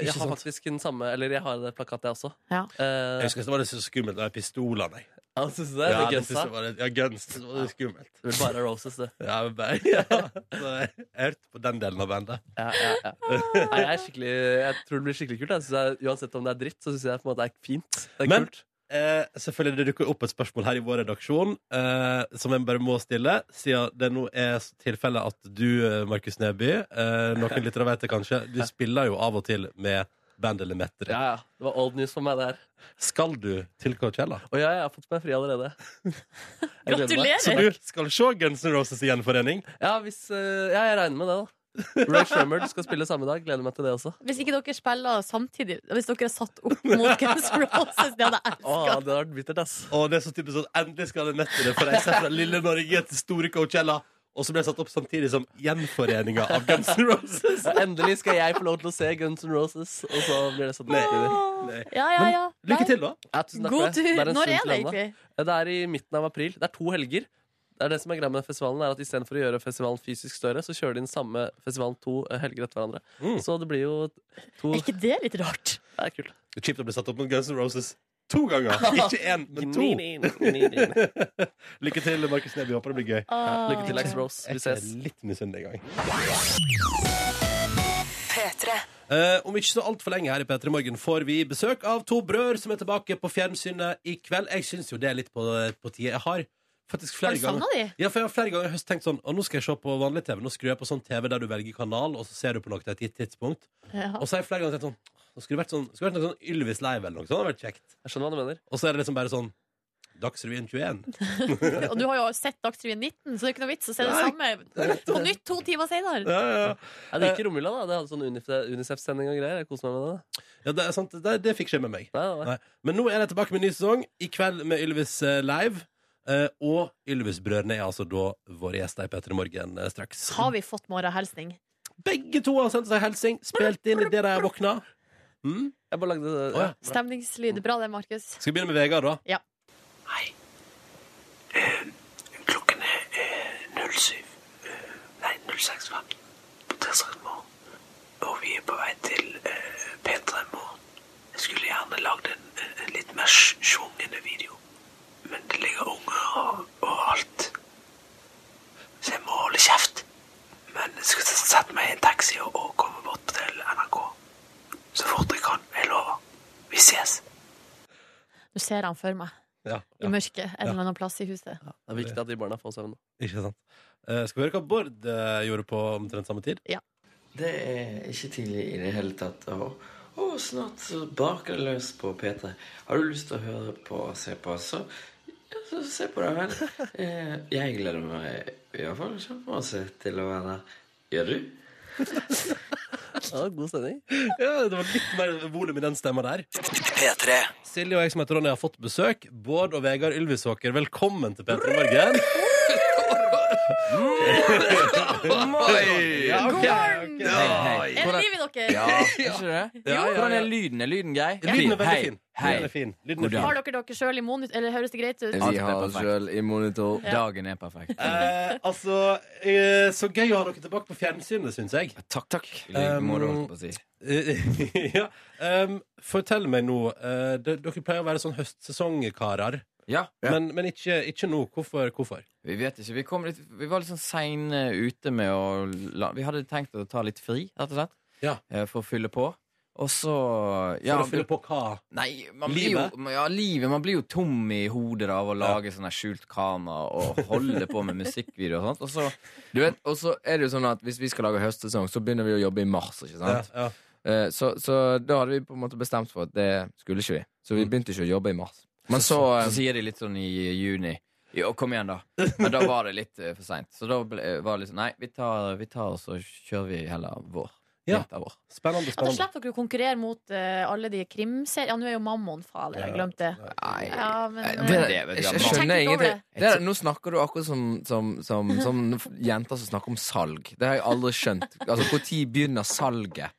jeg Ikke har sant? faktisk den samme, eller jeg har det plakatet, jeg også. Ja. Jeg Eh, husker det var det så skummelt med pistolene. jeg. ja, synes du det? Ja, det det synes gunsa? jeg var det- ja, Guns. Det var det skummelt. Det er vel bare Roses, det. Ja, men bare, ja. Så jeg hørte på den delen av bandet. Ja, ja, ja. Nei, jeg, er skikkelig, jeg tror det blir skikkelig kult. Jeg synes jeg, uansett om det er dritt, så syns jeg på en måte det er fint. Det er Men- kult. Eh, selvfølgelig det dukker opp et spørsmål her i vår redaksjon eh, som jeg bare må stille, siden det nå er tilfellet at du, eh, Markus Neby, eh, noen lyttere vet det kanskje, du spiller jo av og til med band eller mettere. Ja, ja. Det var old news for meg, det her. Skal du til Coachella? Og ja, jeg har fått meg fri allerede. Jeg gleder meg. Så Gratulerer! du skal se Guns N' Roses gjenforening? Ja, hvis, eh, ja, jeg regner med det, da. Ray Shremmerd skal spille samme dag. Gleder meg til det også. Hvis ikke dere spiller samtidig, hvis dere er satt opp mot Guns N' Roses, det hadde Å, jeg elska. det hadde vært bittert, ass. Og det er så typisk sånn, endelig skal det nettere for jeg ser fra lille Norge til store Coachella. Og så ble jeg satt opp samtidig som gjenforeninga av Guns N' Roses. Ja, Endelig skal jeg få lov til å se Guns N' Roses, og så blir det sånn. samtidig. Nei. Ja, ja, ja. Lykke til, da. Ja, tusen takk for God det. tur. Det en Når stund er til det ennå. egentlig? Ja, Det er i midten av april. Det er to helger. Det er det som er greia med festivalen, er at istedenfor å gjøre festivalen fysisk større, så kjører de inn samme festivalen to eh, helger etter hverandre. Mm. Så det blir jo to Er Det ikke det litt rart? er kult. Det er kjipt å bli satt opp mot Guns N' Roses to ganger. Ikke én, men to. Lykke Lykke til, Markus Neby. Håper det blir gøy. Ah. til, Axe Rose. Jeg Vi er ses. litt misunnelig en gang. Eh, om ikke så altfor lenge her i P3 Morgen får vi besøk av to brødre som er tilbake på fjernsynet i kveld. Jeg syns jo det er litt på, på tide. Jeg har faktisk Har flere du ganger savna de? ja, for jeg har flere ganger i høst tenkt sånn Og nå skal jeg se på vanlig TV. Nå skrur jeg på sånn TV der du velger kanal, og så ser du på noe til et gitt tidspunkt. Ja. Og så har jeg flere ganger tenkt sånn Nå skulle det vært, sånn, skulle det vært noe sånn Ylvis Live eller noe sånt. Det hadde vært kjekt. Jeg skjønner hva du mener. Og så er det liksom bare sånn Dagsrevyen 21. Og du har jo sett Dagsrevyen 19, så det er ikke noe vits å se det samme på nytt to timer senere. Ja, ja, ja. Ja, det gikk i romjula, da. Det hadde sånn Unif- Unicef-sending og greier. Jeg koser meg med det. da. Ja, det er sant. Det, det fikk skje med meg. Nei, nei, nei. Nei. Men nå er det tilbake med en ny sesong, i kveld med Ylvis eh, live. Eh, og Ylvis-brødrene er altså da våre gjester i P3 Morgen eh, straks. Har vi fått morgenhilsning? Begge to har sendt seg hilsing, spilt inn i det de har våkna. Mm? Jeg bare lagde det. Å, ja. Stemningslyd. Bra det, Markus. Skal vi begynne med Vegard, da? Ja. Klokken er eh, 07 eh, Nei, 06.15 på tirsdag morgen. Og vi er på vei til eh, P3 morgen. Jeg skulle gjerne lagd en, en- en litt mer sj- sjungende video. Men det ligger unger og, og alt. Så jeg må holde kjeft. Men jeg skal s- sette meg i en taxi og, og komme bort til NRK. Så fort jeg kan. Jeg lover. Vi ses. Nå ser jeg han for meg. Ja, I mørket en eller annen plass i huset. Det er viktig at de barna får søvn. Ikke sant. Eh, skal vi høre hva Bård eh, gjorde på omtrent samme tid? Det er ikke tidlig i det hele tatt. Og, og snart så barker det løs på P3. Har du lyst til å høre på og se på, så, ja, så se på det vel. Eh, jeg gleder meg i hvert fall kjempemasse til å være der. Gjør du? Ja, god stemning. Ja, det var litt mer volum i den stemma der. Silje og jeg som heter Ronny har fått besøk. Bård og Vegard Ylvisåker, velkommen til P3 Morgen. Ja, ok, ok. Hei, hei. Er det liv i dere? Ja, er ikke det? Hvordan er lyden? Er lyden grei? Lyden er veldig fin. Hei. Lyden er fin. Lyden er God fin. Har dere dere sjøl i monitor? Eller høres det greit ut? Vi har oss sjøl i monitor. Ja. Dagen er perfekt. Eh, altså, eh, så gøy å ha dere tilbake på fjernsynet, syns jeg. Takk, takk. I like Um, måte, holdt på å si. Eh, ja. em, fortell meg nå. eh, de- dere pleier å være sånn høstsesongkarer. Ja, Men, men ikke, ikke nå. Hvorfor? hvorfor? vi vet ikke. Vi, kom litt, vi var litt sånn seine ute med å la Vi hadde tenkt å ta litt fri, rett og slett, Ja. eh, for å fylle på. Og så For ja, å fylle på hva? Nei, man blir Livet? jo ja, livet. Man blir jo tom i hodet da, av å lage sånne skjult kamera og holde på med musikkvideoer og sånt. Og så, Du vet, og så er det jo sånn at Hvis vi skal lage høstsesong, så begynner vi å jobbe i mars. ikke Ja, sant? ja. Eh, Så, så da hadde vi på en måte bestemt for at det skulle ikke vi. Så vi begynte ikke å jobbe i mars. Mm. Men så Så sier de litt sånn i juni Jo, kom igjen, da. Men da var det litt eh, for seint. Så da ble, var det litt sånn Nei, vi tar, vi tar og så kjører vi heller vår. Ja. Vinter, vår. Spennende, Ja, da spennende. slipper dere å konkurrere mot eh, alle de krimseriene. Ja, nå er jo Mammon fader, jeg glemte det. Nei. Ja, men, Nei, eh, det det- vet Jeg, du, jeg Amanda. skjønner Tenk litt over ingenting. det. Det er, nå snakker du akkurat som, som, som, som jenter som snakker om salg. Det har jeg aldri skjønt. Altså, Når begynner salget?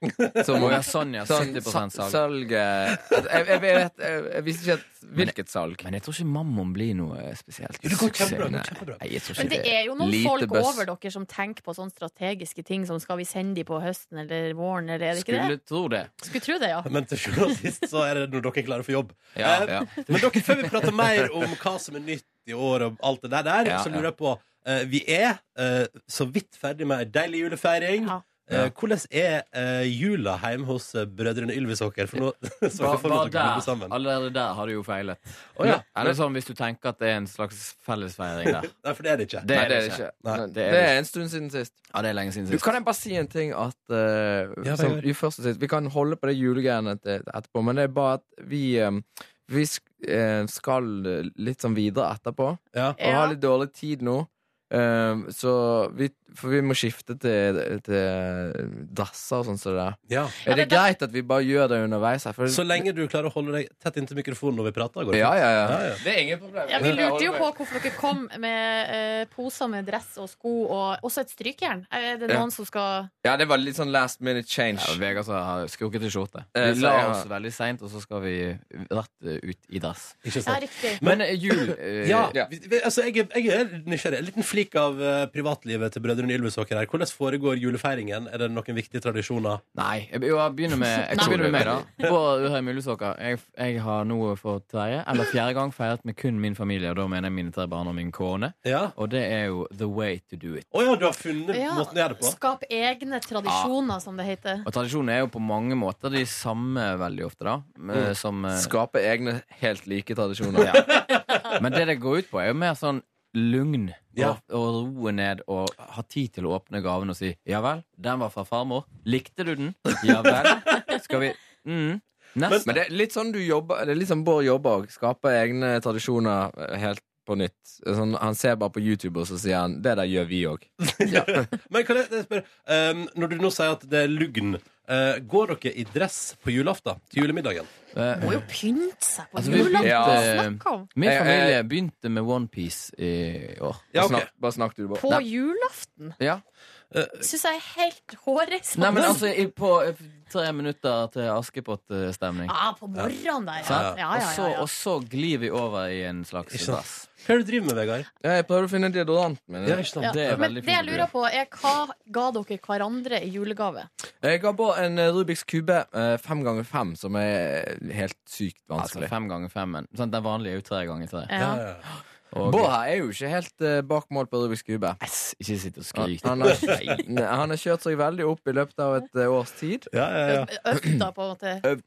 Som, Å ja, sånn, ja. Sånn, 70 sa- salg. Salget jeg, jeg, jeg, vet- jeg, jeg visste ikke at, hvilket salg. Men jeg tror ikke Mammon blir noe eh, spesielt. Jo, det går suksess. kjempebra, det går Nei, kjempebra. nei, jeg tror ikke men det er jo noen Lite folk buss. over dere som tenker på sånne strategiske ting som skal vi sende de på høsten eller våren, eller er det ikke Skulle tro det. det? Skulle tro det, ja. Men til sjuende og sist så er det når dere er klare for jobb. Ja, Eh, ja. Men dere, før vi prater mer om hva som er nytt i år og alt det der, der Ja, så ja. lurer jeg på eh, Vi er eh, så vidt ferdig med ei deilig julefeiring. Ja. Eh, hvordan er eh, jula hjemme hos eh, brødrene Ylvisåker? For nå så Ba- jeg for meg bare at dere jobber sammen. allerede der har du jo feilet. Å ja. Eller sånn hvis du tenker at det er en slags fellesfeiring der. Nei, for det er det ikke. Det Nei, er det ikke. Nei, Nei, det det er det er en stund siden sist. Ja, det er lenge siden Du sist. kan jeg bare si en ting at eh, Ja, som, Vegard. i første sist, Vi kan holde på det julegreiene til- etterpå, men det er bare at vi, eh, vi sk eh, skal litt sånn videre etterpå. Ja. Og Ja. har litt dårlig tid nå. Eh, så vi, for vi må skifte til, til dasser og sånn. som det er. Ja. Er det men da- greit at vi bare gjør det underveis? Her? For, Så lenge du klarer å holde deg tett inntil mikrofonen når vi prater, går det ja, fint. ja, ja. Ja, ja. Det er ingen problem. Ja, vi lurte jo på hvorfor dere kom med eh, poser med dress og sko og også et strykjern. Er det Ja. noen som skal ja, det var litt sånn last minute change. Ja, Vegard som har skrukket i skjorte. Eh, Vi så la jeg- oss veldig seint, og så skal vi rett eh, ut i dass. Ikke Ja, sant? riktig. Men eh, jul eh, Ja, Ja. vi- vi- altså jeg, er- jeg er nysgjerrig. En liten flik av eh, privatlivet til brødrene Ylvisåker her. Hvordan foregår julefeiringen? Er det noen viktige tradisjoner? Nei. Jeg, jo, jeg begynner med Jeg kan Nei. begynne med meg, da. Bård Urheim Ullesåker. Jeg, jeg har nå for tredje eller fjerde gang feiret med kun min familie, og da mener jeg mine tre barn og min kone. Ja. Og det er jo the way to do it. Å ja, du har funnet Ja, måten å gjøre det på? skap egne tradisjoner, som det heter. Og tradisjonen er jo på mange måter de samme veldig ofte, da. eh, Som eh, Skape egne helt like tradisjoner. Men det det går ut på, er jo mer sånn lugn. Ja. Og, og roe ned og ha tid til å åpne gaven og si 'ja vel, den var fra farmor'. Likte du den? Ja vel. Skal vi mm. Neste. Men det er litt sånn du jobber Det er litt sånn Bård jobber òg. Skaper egne tradisjoner eh, helt på nytt. Sånn, han ser bare på YouTube, og så sier han 'det der gjør vi òg'. Men kan jeg spørre, ehm, når du nå sier at det er lugn, eh, går dere i dress på julaften til julemiddagen? Eh, Må jo pynte seg på Altså, vi- julaften! ja. Hva snakker om? min Jeg- jeg- familie begynte med OnePiece i år. Ja, Bare ok. snakk- Bare snakk, du, Bård. På julaften? Ja. Syns jeg er helt hårreisende. Nei, men altså i, på eh, tre minutter til Askepott-stemning. Ja, på morgenen der, ja. ja, Ah, Sant? ja, Og ja, så, ja. og så glir vi over i en slags Ikke sant? dass. Hva er det du driver med, Vegard? Ja, jeg prøver å finne deodoranten min. Ja, ikke sant? Ja, det er Men det veldig jeg fint å lurer på, er hva ga dere hverandre i julegave? Jeg ga Bård en eh, Rubiks kube eh, fem ganger fem, som er helt sykt Altså vanskelig. fem ganger fem. men- sant, Sånn, Den vanlige er jo tre ganger tre. Ja, Ja. ja, ja. Og- Bård her er jo ikke helt eh, bak mål på Rubiks kube. Yes, ikke sitt og Han, skryt. han, har, Nei, han har kjørt seg veldig opp i løpet av et eh, års tid. ja, ja, ja. Øfta, Eh, på en måte.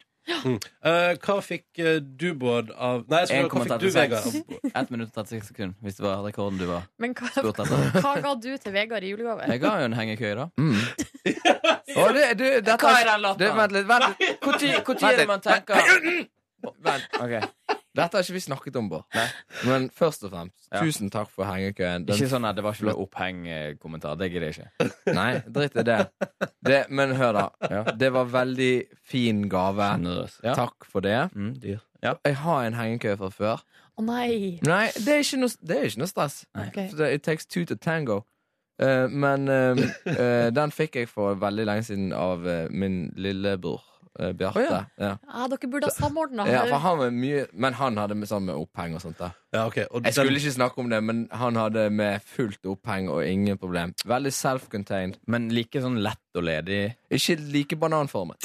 Eh, hva fikk eh, du, Bård, av Nei, jeg skulle, hva fikk du, Vegard? 1 minutt og 36 sekunder, hvis det var rekorden du var Men hva, spurt etter. hva ga du til Vegard i julegave? Jeg ga jo en hengekøye, da. Å, det, du, dette, Hva er den latteren? Det, vent litt. Vent litt. Når Vent er det litt. man tenker Vent, ok Dette har ikke vi snakket om, Bård. Men først og fremst, Ja. tusen takk for hengekøyen. Den- Ikke sånn at det var ikke noe opphengkommentar. Det gidder jeg ikke. Nei, dritt i det. det. Men hør, da. Det var veldig fin gave. Nervøs. Ja. Takk for det. Mm, dyr. Jeg har en hengekøye fra før. Å nei! Nei, det er ikke noe, det er ikke noe stress. Ok. For det- It takes two to tango. Eh, men eh, eh, den fikk jeg for veldig lenge siden av eh, min lillebror eh, Bjarte. Å, ja. Ja, dere burde ha samordna. Ja, for han var mye, men han hadde med sånn med oppheng og sånt. da Ja, ok. Og Jeg skulle ikke snakke om det, men han hadde med fullt oppheng og ingen problem. Veldig self-contained. Men like sånn lett og ledig. Ikke like bananformet.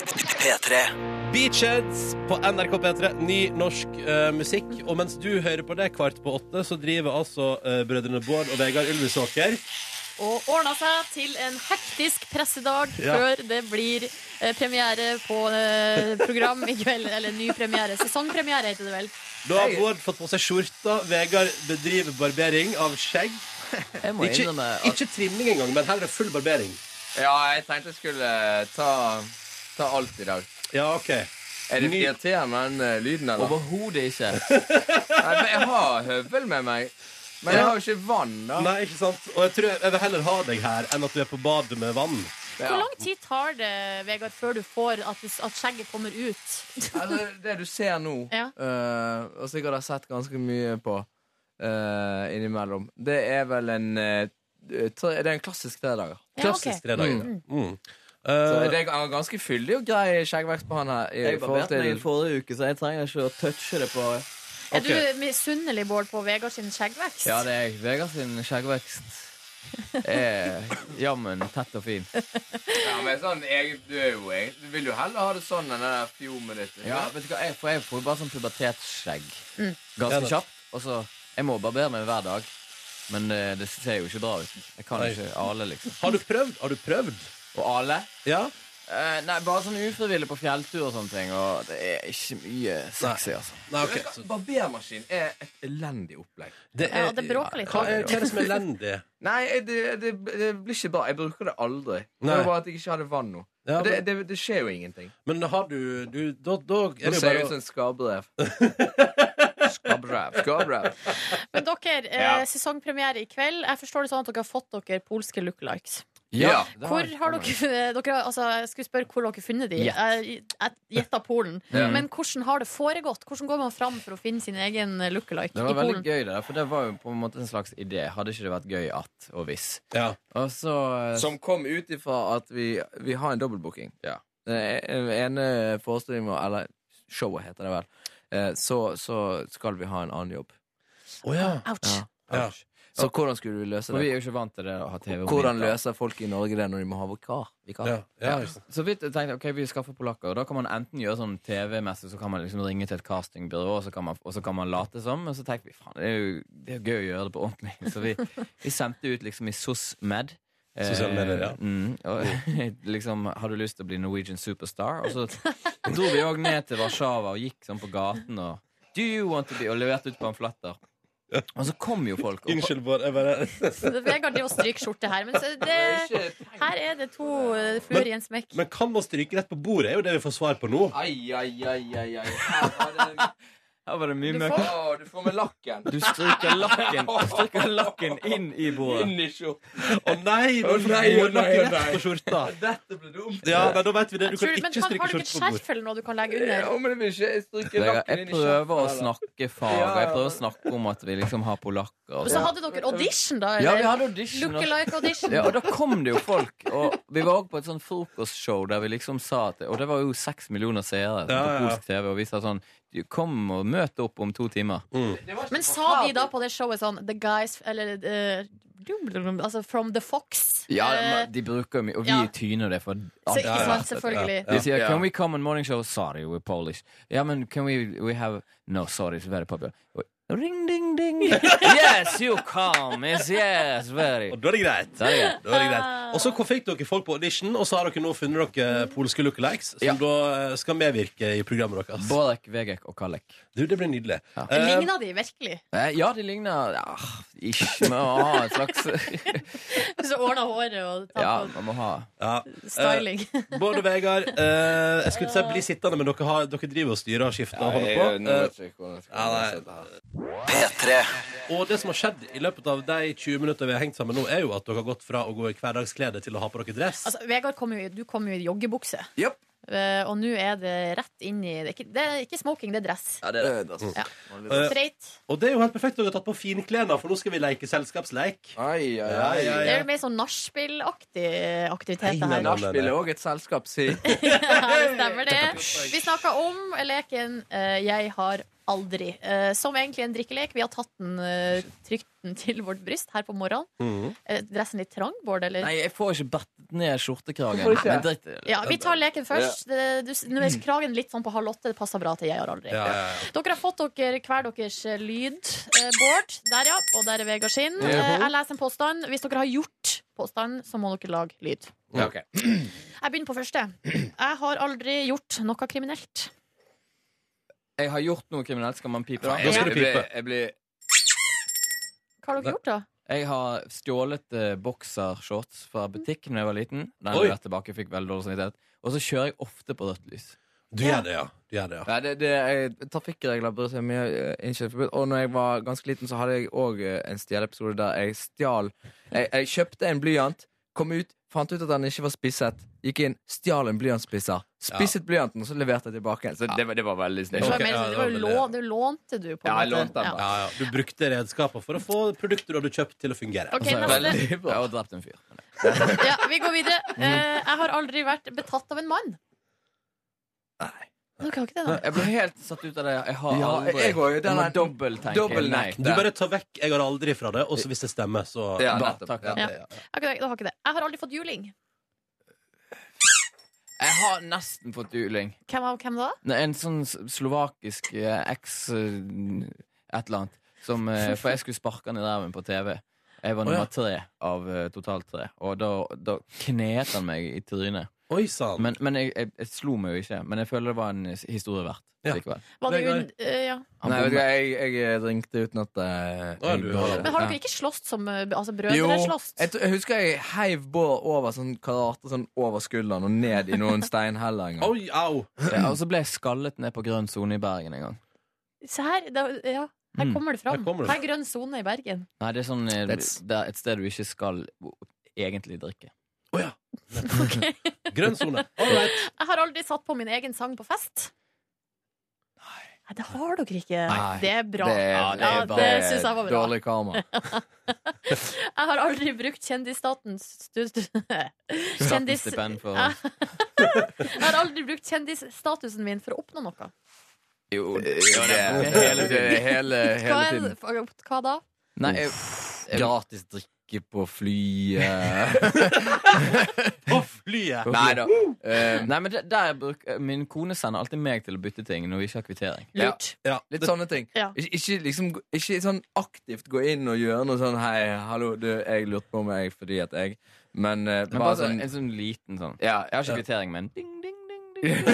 Beachheads på NRK P3, ny norsk eh, musikk. Og mens du hører på det kvart på åtte, så driver altså eh, brødrene Bård og Vegard Ylvisåker Og ordna seg til en hektisk pressedag Ja. før det blir eh, premiere på eh, program i kveld. Eller ny premiere. Sesongpremiere heter det vel. Da har Bård fått på seg skjorta. Vegard bedriver barbering av skjegg. Jeg må Ikke, innrømme at ikke trimming engang, men her er det full barbering. Ja, jeg tenkte jeg skulle ta, ta eh, alt i dag. Ja, ok Er det irriterende med den eh, lyden, eller? Overhodet ikke. Nei, men jeg har høvel med meg. Men jeg har jo ikke vann, da. Nei, ikke sant? Og jeg tror jeg, jeg vil heller ha deg her enn at du er på badet med vann. Ja. Hvor lang tid tar det, Vegard, før du får at, at skjegget kommer ut? Altså, det du ser nå, Ja. eh, og sikkert har sett ganske mye på eh, innimellom, det er vel en eh, tre, Det er en klassisk tredager. Ja, ok. Klassisk tre dager. Mm. Mm. Så Eh, det er ganske fyldig og grei skjeggvekst på han her. I Jeg forhold barberte meg i til forrige uke, så jeg trenger ikke å touche det på Er du misunnelig, Bård, på Vegard sin skjeggvekst? Ja, det er jeg. Vegard sin skjeggvekst er jammen tett og fin. ja, men sånn, jeg, du, er jo, jeg, du vil jo heller ha det sånn enn det der fjomet ditt. Ja, vet du hva, Jeg får, jeg får bare sånn pubertetsskjegg Ja, ganske det- kjapt. Og så, Jeg må barbere meg hver dag, men eh, det ser jo ikke bra ut. Jeg kan Nei. ikke ale, liksom. har du prøvd? Har du prøvd? Og ale? Ja? Eh, nei, bare sånn ufrivillig på fjelltur og sånne ting. Og det er ikke mye sexy, altså. Nei, ok. Så Barbermaskin er et elendig opplegg. det Ja, det bråker litt. Hva er, hva er det som er elendig? Nei, det, det, det blir ikke bra. Jeg bruker det aldri. Det Nei. var bare at jeg ikke hadde vann nå. Ja, det, men, det, det skjer jo ingenting. men har du, du Da, da sånn. er Nå det jo ser jeg bare ut som å en skabrev. skabrev. skabrev. Men dere, Ja. eh, sesongpremiere i kveld. Jeg forstår det sånn at dere har fått dere polske lookalikes. Ja. Hvor har dere, dere har- altså, Jeg skulle spørre hvor dere har funnet de. Jeg jeg gjetta Polen. Ja. Men hvordan har det foregått? Hvordan går man fram for å finne sin egen lookalike Det i var veldig Polen? gøy, det der, for det var jo på en måte en slags idé. Hadde ikke det vært gøy at og hvis. ja. Og så Som kom ut ifra at vi, vi har en dobbeltbooking. Ja. Den ene forestillingen vår, eller showet heter det vel, eh, så, så skal vi ha en annen jobb. Å ja. Ouch. Ja. Så hvordan skulle du løse For vi det? er jo ikke vant til det å ha TV. om Hvordan vinteren. løser folk i Norge det når de må ha vikar? vikar? ja, ja, ikke sant. liksom. Så vidt jeg tenkte ok, vi skaffer polakker. Og da kan man enten gjøre sånn TV-messig, så kan man liksom ringe til et castingbyrå, og så kan man, og så kan man late som. Men så tenkte vi faen, det er jo det er jo gøy å gjøre det på ordentlig. Så vi, vi sendte ut liksom i SOSMED. eh, Sosiale medier, ja. Mm, og liksom, har du lyst til å bli Norwegian superstar? Og så dro vi òg ned til Warszawa og gikk sånn på gaten og Do you want to be? Og leverte ut pamfletter. Og så kom jo folk. Og, Unnskyld, Bård. Jeg bare Vegard driver og stryker skjorte her. Men så det, her er det to eh, fluer i en smekk. Men kan man stryke rett på bordet? er jo det vi får svar på nå. Ai, ai, ai, ai, ai. Her var det- her var det mye Du møkk. får, Å, du får med lakken. Du stryker lakken, stryker lakken inn i bordet. Inn i skjorten. Å nei! Å nei, å nei, Rett på skjorta. Dette ble dumt. Ja, nei, da vet vi det. Du tror, kan du- men ikke kan, stryke har du ikke et skjorte på skjerf bordet. eller noe du kan legge under? Ja, men det vil ikke jeg stryker Jeg, lakken jeg inn i prøver å kjeften, eller? snakke fag, og jeg prøver å snakke om at vi liksom har polakker. Og Og så sånn. hadde dere audition, da? ja, Eller? vi hadde audition. Og, Lookalike audition. ja, og da kom det jo folk. Og vi var også på et sånn frokostshow der vi liksom sa at Og det var jo seks millioner Ja, seere på ja, ja. polsk TV, og vi sa sånn "Du, Kom og møt opp om to timer. Men sa de da på det showet sånn The guys Eller eh, altså, From the Fox? Ja, eh, men De bruker jo mye Og vi ja. tyner det for så alt. ikke ja, sant, selvfølgelig. De sier Ja. 'Can we come on morning show?' Sorry, we're Polish. Ja, men can we, we have No, sorry, it's very popular. Ring, ding, ding. yes, you come. Yes, yes, very. Og da er det greit. Der er det. Da er det greit. Og så kom- fikk dere folk på audition, og så har dere nå funnet dere polske lookalikes, som Ja. da eh, skal medvirke i programmet deres. Borek, Vegek og Kalek. Du, det blir nydelig. Ja. Eh, Ligna de virkelig? Eh, ja, de ligner ja, Ikke med å ha en slags Så ordna håret og tatt Ja, på man må ha ja. styling. Bård og Vegard, eh, jeg skulle ikke si bli sittende, men dere, har, dere driver og styrer og skifter og holder Jeg, nå på. Eh, vet jeg ikke hvordan jeg skal Ja, nei. løse dette her. og det som har skjedd i løpet av de 20 minutter vi har hengt sammen nå, er jo at dere har gått fra å gå i hverdagsklede til å ha på dere dress. Altså, Vegard, kom jo, i- du kom jo i joggebukse. Japp. Eh, og nå er det rett inn i Det er ikke, det er ikke smoking, det er dress. Ja, det er det. Ja. Eh, Streit. og det er jo helt perfekt. Dere har tatt på finklærne, for nå skal vi leke selskapsleik. Ai, ai, Ja, ai. ja, Det ja. er mer sånn nachspiel-aktig aktivitet, det Nei, nei, her. nei. Nachspiel er òg et selskap, si. Ja, det stemmer det. Vi snakka om leken eh, Jeg har aldri, eh, som egentlig er en drikkelek. Vi har tatt den, eh, trykt den til vårt bryst her på morgenen. Er dressen litt trang, Bård, eller? Nei, jeg får ikke battet ned skjortekragen. Hvorfor ikke? Men drit i det. Ja, vi tar leken først. Det- du- Nå er kragen litt sånn på halv åtte. Det passer bra til Jeg har aldri. Ja, ja, ja. Dere har fått dere hver deres eh, lyd. Eh, Bård, der ja. Og der er Vegard sin. Eh, Jeg leser en påstand. Hvis dere har gjort påstanden, så må dere lage lyd. Ja, ok. Jeg begynner på første. Jeg har aldri gjort noe kriminelt. Jeg har gjort noe kriminelt, skal man pipe da? Da skal du Jeg pipe. blir- Jeg blir Hva har dere gjort, da? Jeg har stjålet eh, boksershorts fra butikken da jeg var liten. Den Oi. leverte tilbake, fikk veldig dårlig samvittighet. Og så kjører jeg ofte på rødt lys. Du gjør det, ja. Du gjør det, ja. Nei, det, det, jeg, trafikkregler bryr seg mye eh, ikke forbudt. Og når jeg var ganske liten, så hadde jeg òg en stjeleepisode der jeg stjal jeg, jeg kjøpte en blyant, kom ut, fant ut at den ikke var spisset, gikk inn, stjal en blyantspisser, spisset blyanten, og så leverte jeg tilbake igjen. Så det, var- det var veldig Det snilt. var Ok, mer ja, sånn- det det var var jo vel det. lå- det lånte du, på en Ja, jeg måte. lånte den, Ja, ja. Du brukte redskaper for å få produkter du hadde kjøpt, til å fungere. Ok, Så- neste. Veldig Jeg bra. har drept en fyr. Ja, vi går videre. Eh, jeg har aldri vært betatt av en mann. Nei. Dere har ikke det, da? Jeg ble helt satt ut av det. Jeg har Ja, aldri jeg går jo- den Jeg må er- dobbelttenke. Nei. dobbeltnekt. Du bare tar vekk 'jeg har aldri' fra det, og så hvis det stemmer, så Ja, Bra, nettopp. takk. Ja. Ja. Ok, da har jeg ikke det. Jeg har aldri fått juling. Jeg har nesten fått juling. Hvem av hvem da? Nei, En sånn s- slovakisk eh, eks eh, et eller annet. Som, eh, for jeg skulle sparke han i ræven på TV. Jeg var Å, ja. nummer tre av eh, totalt tre. Og da, da knet han meg i trynet. Oi sann. Men, men jeg, jeg, jeg slo meg jo ikke. Men jeg føler det var en s- historie verdt. Ja. Likevel. Var det Vegard. un... eh, ja. Han Nei, vet bommet. du, hva, jeg, jeg ringte uten at Å, eh, ja, du har det. Men har dere ikke slåss som eh, altså, brødre? Jo, slåss? jeg, t- jeg husker jeg heiv bål over sånn karate sånn over skulderen og ned i noen steinheller en gang. Oi, au. ja, og så ble jeg skallet ned på grønn sone i Bergen en gang. Se her. Da, ja. Her Mm, kommer det her fram. kommer det. Her er grønn sone i Bergen. Nei, det er sånn eh, That's- det er et sted du ikke skal egentlig drikke. Grønn sone. All right. Jeg har aldri satt på min egen sang på fest. Nei, det har dere ikke. Nei, det er bra. Ja, det er Ja, bra. det syns jeg var bra. Dårlig karma. Jeg har aldri brukt kjendisstatens stu- stu- Kjendis... Stipend for Ja. Jeg har aldri brukt kjendisstatusen min for å oppnå noe. Jo, det er hele, det er hele, Hva, hele er, tiden. det- hva da? Nei, jeg, Gratis drikke på flyet. På flyet. Nei da. Eh, nei, men det, der bruk, eh, Min kone sender alltid meg til å bytte ting når vi ikke har kvittering. Lurt. Ja. Litt sånne ting. Ja. Ikke, ikke, liksom, ikke sånn aktivt gå inn og gjøre noe sånn 'Hei, hallo, du, jeg lurte på meg fordi at jeg' Men, eh, Men bare bare sånn en sånn liten sånn. Ja, Jeg har ikke kvittering, men ding, ding, ding, ding.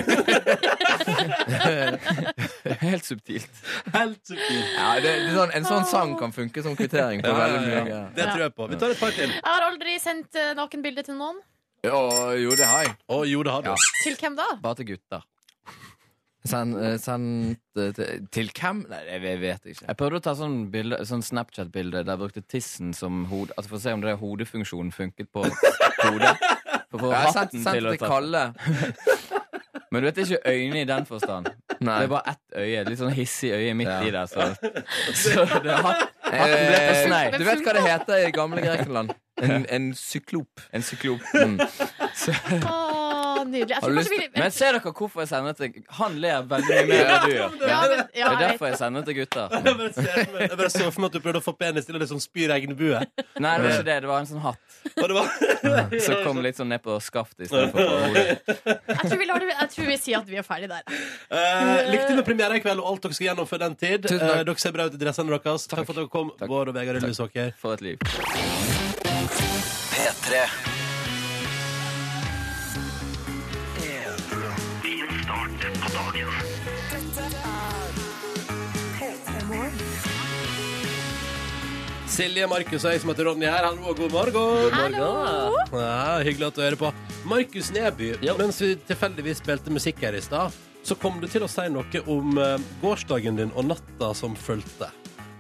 Helt subtilt. sånn Helt supert. ja det, det er sånn, en sånn sang kan funke som kvittering på Ja, veldig ja, mye. ja. Det tror jeg på. Vi tar et par til. Jeg har aldri sendt eh, nakenbilde til noen. Ja, jo, det har jeg. Å jo, det har du. Ja. Til hvem da? Bare til gutter. Send, eh, send det til, til hvem? Nei, det jeg vet jeg ikke. Jeg prøvde å ta sånn, bilde- sånn Snapchat-bilde der jeg brukte tissen som hode Altså For å se om det hodefunksjonen funket på hodet. For å få Jeg har sendt, hatten sendt til å det til treffe. Kalle. Men du vet det er ikke øyne i den forstand. Nei. Det er bare ett øye. Litt sånn hissig øye midt Ja. i der. Så, så det er hatt, hatten ble på snei. Eh, du vet hva det heter i gamle Grekenland? En, en syklop. En syklop. Mm. Ah, nydelig. Jeg Har du tror lyst kanskje vi Men ser dere hvorfor jeg sender til Han ler veldig mye mer enn du gjør. ja, men, ja, Det er jeg, derfor jeg sender til gutter. Jeg bare ser for meg- jeg bare så for meg at du prøvde å få penis til å liksom spy regnbue. Nei, det var ikke det. Det var en sånn hatt Og det var som kom litt sånn ned på skaftet istedenfor på hodet. jeg, tror vi lar det, jeg tror vi sier at vi er ferdig der. Eh, Lykke til med premieren i kveld og alt dere skal gjennom før den tid. Tusen takk. Eh, dere ser bra ut i dressene deres. Takk for at dere kom, Bård og Vegard Ulvesåker. For et liv. Silje, Markus og jeg som heter Ronny her. Hallo og god morgen. Hallo! Ja, Ah, hyggelig at du hører på. Markus Neby, Jo. mens vi tilfeldigvis spilte musikk her i stad, så kom du til å si noe om eh, gårsdagen din og natta som fulgte.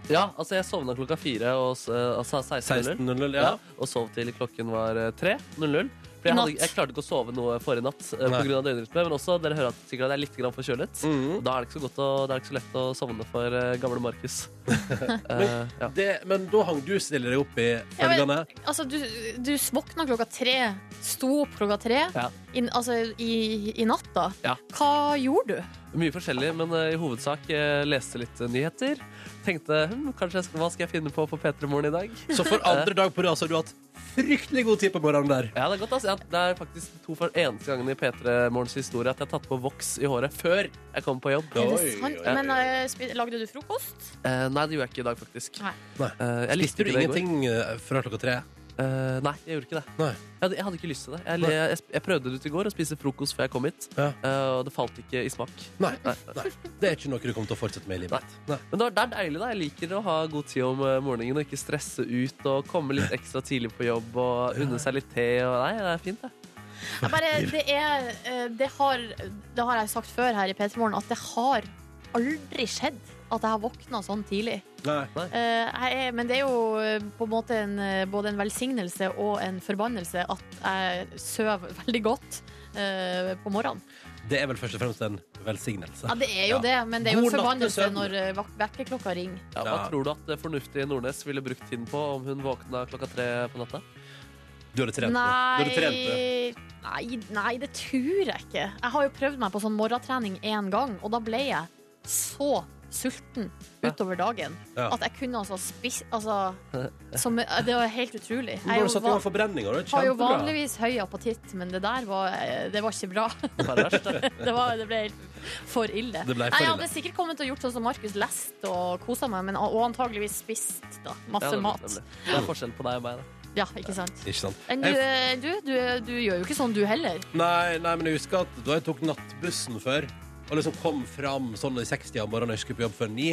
Ja, altså jeg sovna klokka fire og s- eh, altså 16.00. 16.00, ja. Ja, og sov til klokken var eh, tre. 00. For jeg, hadde, Natt. jeg klarte ikke å sove noe forrige natt eh, Nei. på grunn av døgnrytme. Men også, dere hører at sikkert at jeg er litt grann forkjølet. Mhm. Og Da er det ikke så godt å, da er det ikke så lett å sovne for eh, gamle Markus. Eh, ja. Det, men da hang du stille deg opp i Ja, men- følgende. Altså, du, du våkna klokka tre, sto opp klokka tre Ja. inn- altså, i, i natta. Ja. Hva gjorde du? Mye forskjellig, men eh, i hovedsak eh, leste litt eh, nyheter. Tenkte hm, kanskje jeg skal, hva skal jeg finne på på P3 Morgen i dag? Så for andre dag på rad så har du hatt fryktelig god tid på morgenen der. Ja, det er godt, altså. Jeg- Det er faktisk to for eneste gangen i P3 Morgens historie at jeg har tatt på voks i håret før jeg kom på jobb. Er Oi, det sant? oi, oi. Men eh, spi- lagde du frokost? Eh, nei, det gjorde jeg ikke i dag, faktisk. Nei. Nei. Eh, jeg likte Visste du ikke det i går. ingenting eh, før klokka tre? Eh, nei, jeg gjorde ikke det. Nei. Jeg, hadde, jeg hadde ikke lyst til det. Jeg, Nei. jeg, jeg prøvde det ut i går, å spise frokost før jeg kom hit. Ja. Eh, og det falt ikke i smak. Nei. Nei. Det er ikke noe du kommer til å fortsette med i livet. Nei. Men det, var, det er deilig, da. Jeg liker å ha god tid om eh, morgenen og ikke stresse ut og komme litt ekstra tidlig på jobb og unne seg litt te. Og, nei, det er fint, det. Jeg bare, det er eh, det har, det har jeg sagt før her i P3 Morgen, at det har aldri skjedd at jeg har våkna sånn tidlig. Nei. Eh, jeg er, men det er jo eh, på en måte en, eh, både en velsignelse og en forbannelse at jeg sover veldig godt eh, på morgenen. Det er vel først og fremst en velsignelse. Ja, det er jo Ja. det, men det er jo en God natt, forbannelse søvn. når eh, vak- vekkerklokka ringer. Ja, hva Ja. tror du at eh, fornuftige Nordnes ville brukt tiden på om hun våkna klokka tre på natta? Du hadde trent det. Du hadde trent det. Nei, nei, nei, det tror jeg ikke. Jeg har jo prøvd meg på sånn morgentrening én gang, og da ble jeg så sulten utover dagen Ja. at jeg kunne altså spise altså, som, Det var helt utrolig. Du har Jeg jo satt i gang forbrenninger. Det er har jo kjempebra. vanligvis høy appetitt, men det der var, eh, det var ikke bra. Perverst, da. Det, var, det ble helt for ille. Det ble for Nei, jeg ille. hadde sikkert kommet og gjort sånn som Markus, lest og kosa meg, men, og antageligvis spist da, masse Ja, det- mat. det- Det er forskjell på deg og meg, da. Ja, ikke sant? Ikke sant? Men du, eh, du, du, du gjør jo ikke sånn, du heller. Nei, nei, men jeg husker at da jeg tok nattbussen før og liksom kom fram sånn i 60 om morgenen og jeg skulle på jobb før ni,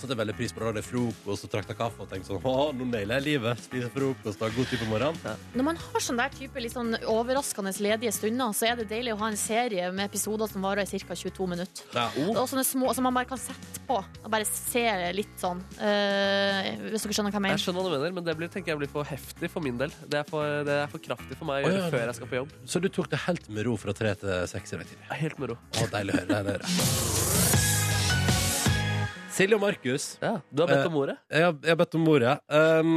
satte jeg veldig pris på å lage frokost og trakta kaffe og tenkte sånn Å, nå nailer jeg livet. Spiser frokost og har god tid på morgenen. Når man har sånn der type litt sånn overraskende ledige stunder, så er det deilig å ha en serie med episoder som varer i ca. 22 minutter. Ja, oh. Og sånne små som man bare kan sette på. Og bare se litt sånn. eh, hvis dere skjønner hva jeg Jeg mener. skjønner hva du mener, men det blir, tenker jeg blir for heftig for min del. Det er for, det er for kraftig for meg å Å, ja. gjøre før jeg skal på jobb. Så du tok det helt med ro fra tre til seks i dag tidlig? Helt med ro. Å, deilig å høre. Deilig å høre. Silje og Markus. Ja, du har bedt om ordet. Jeg har, jeg har bedt om ordet. Um,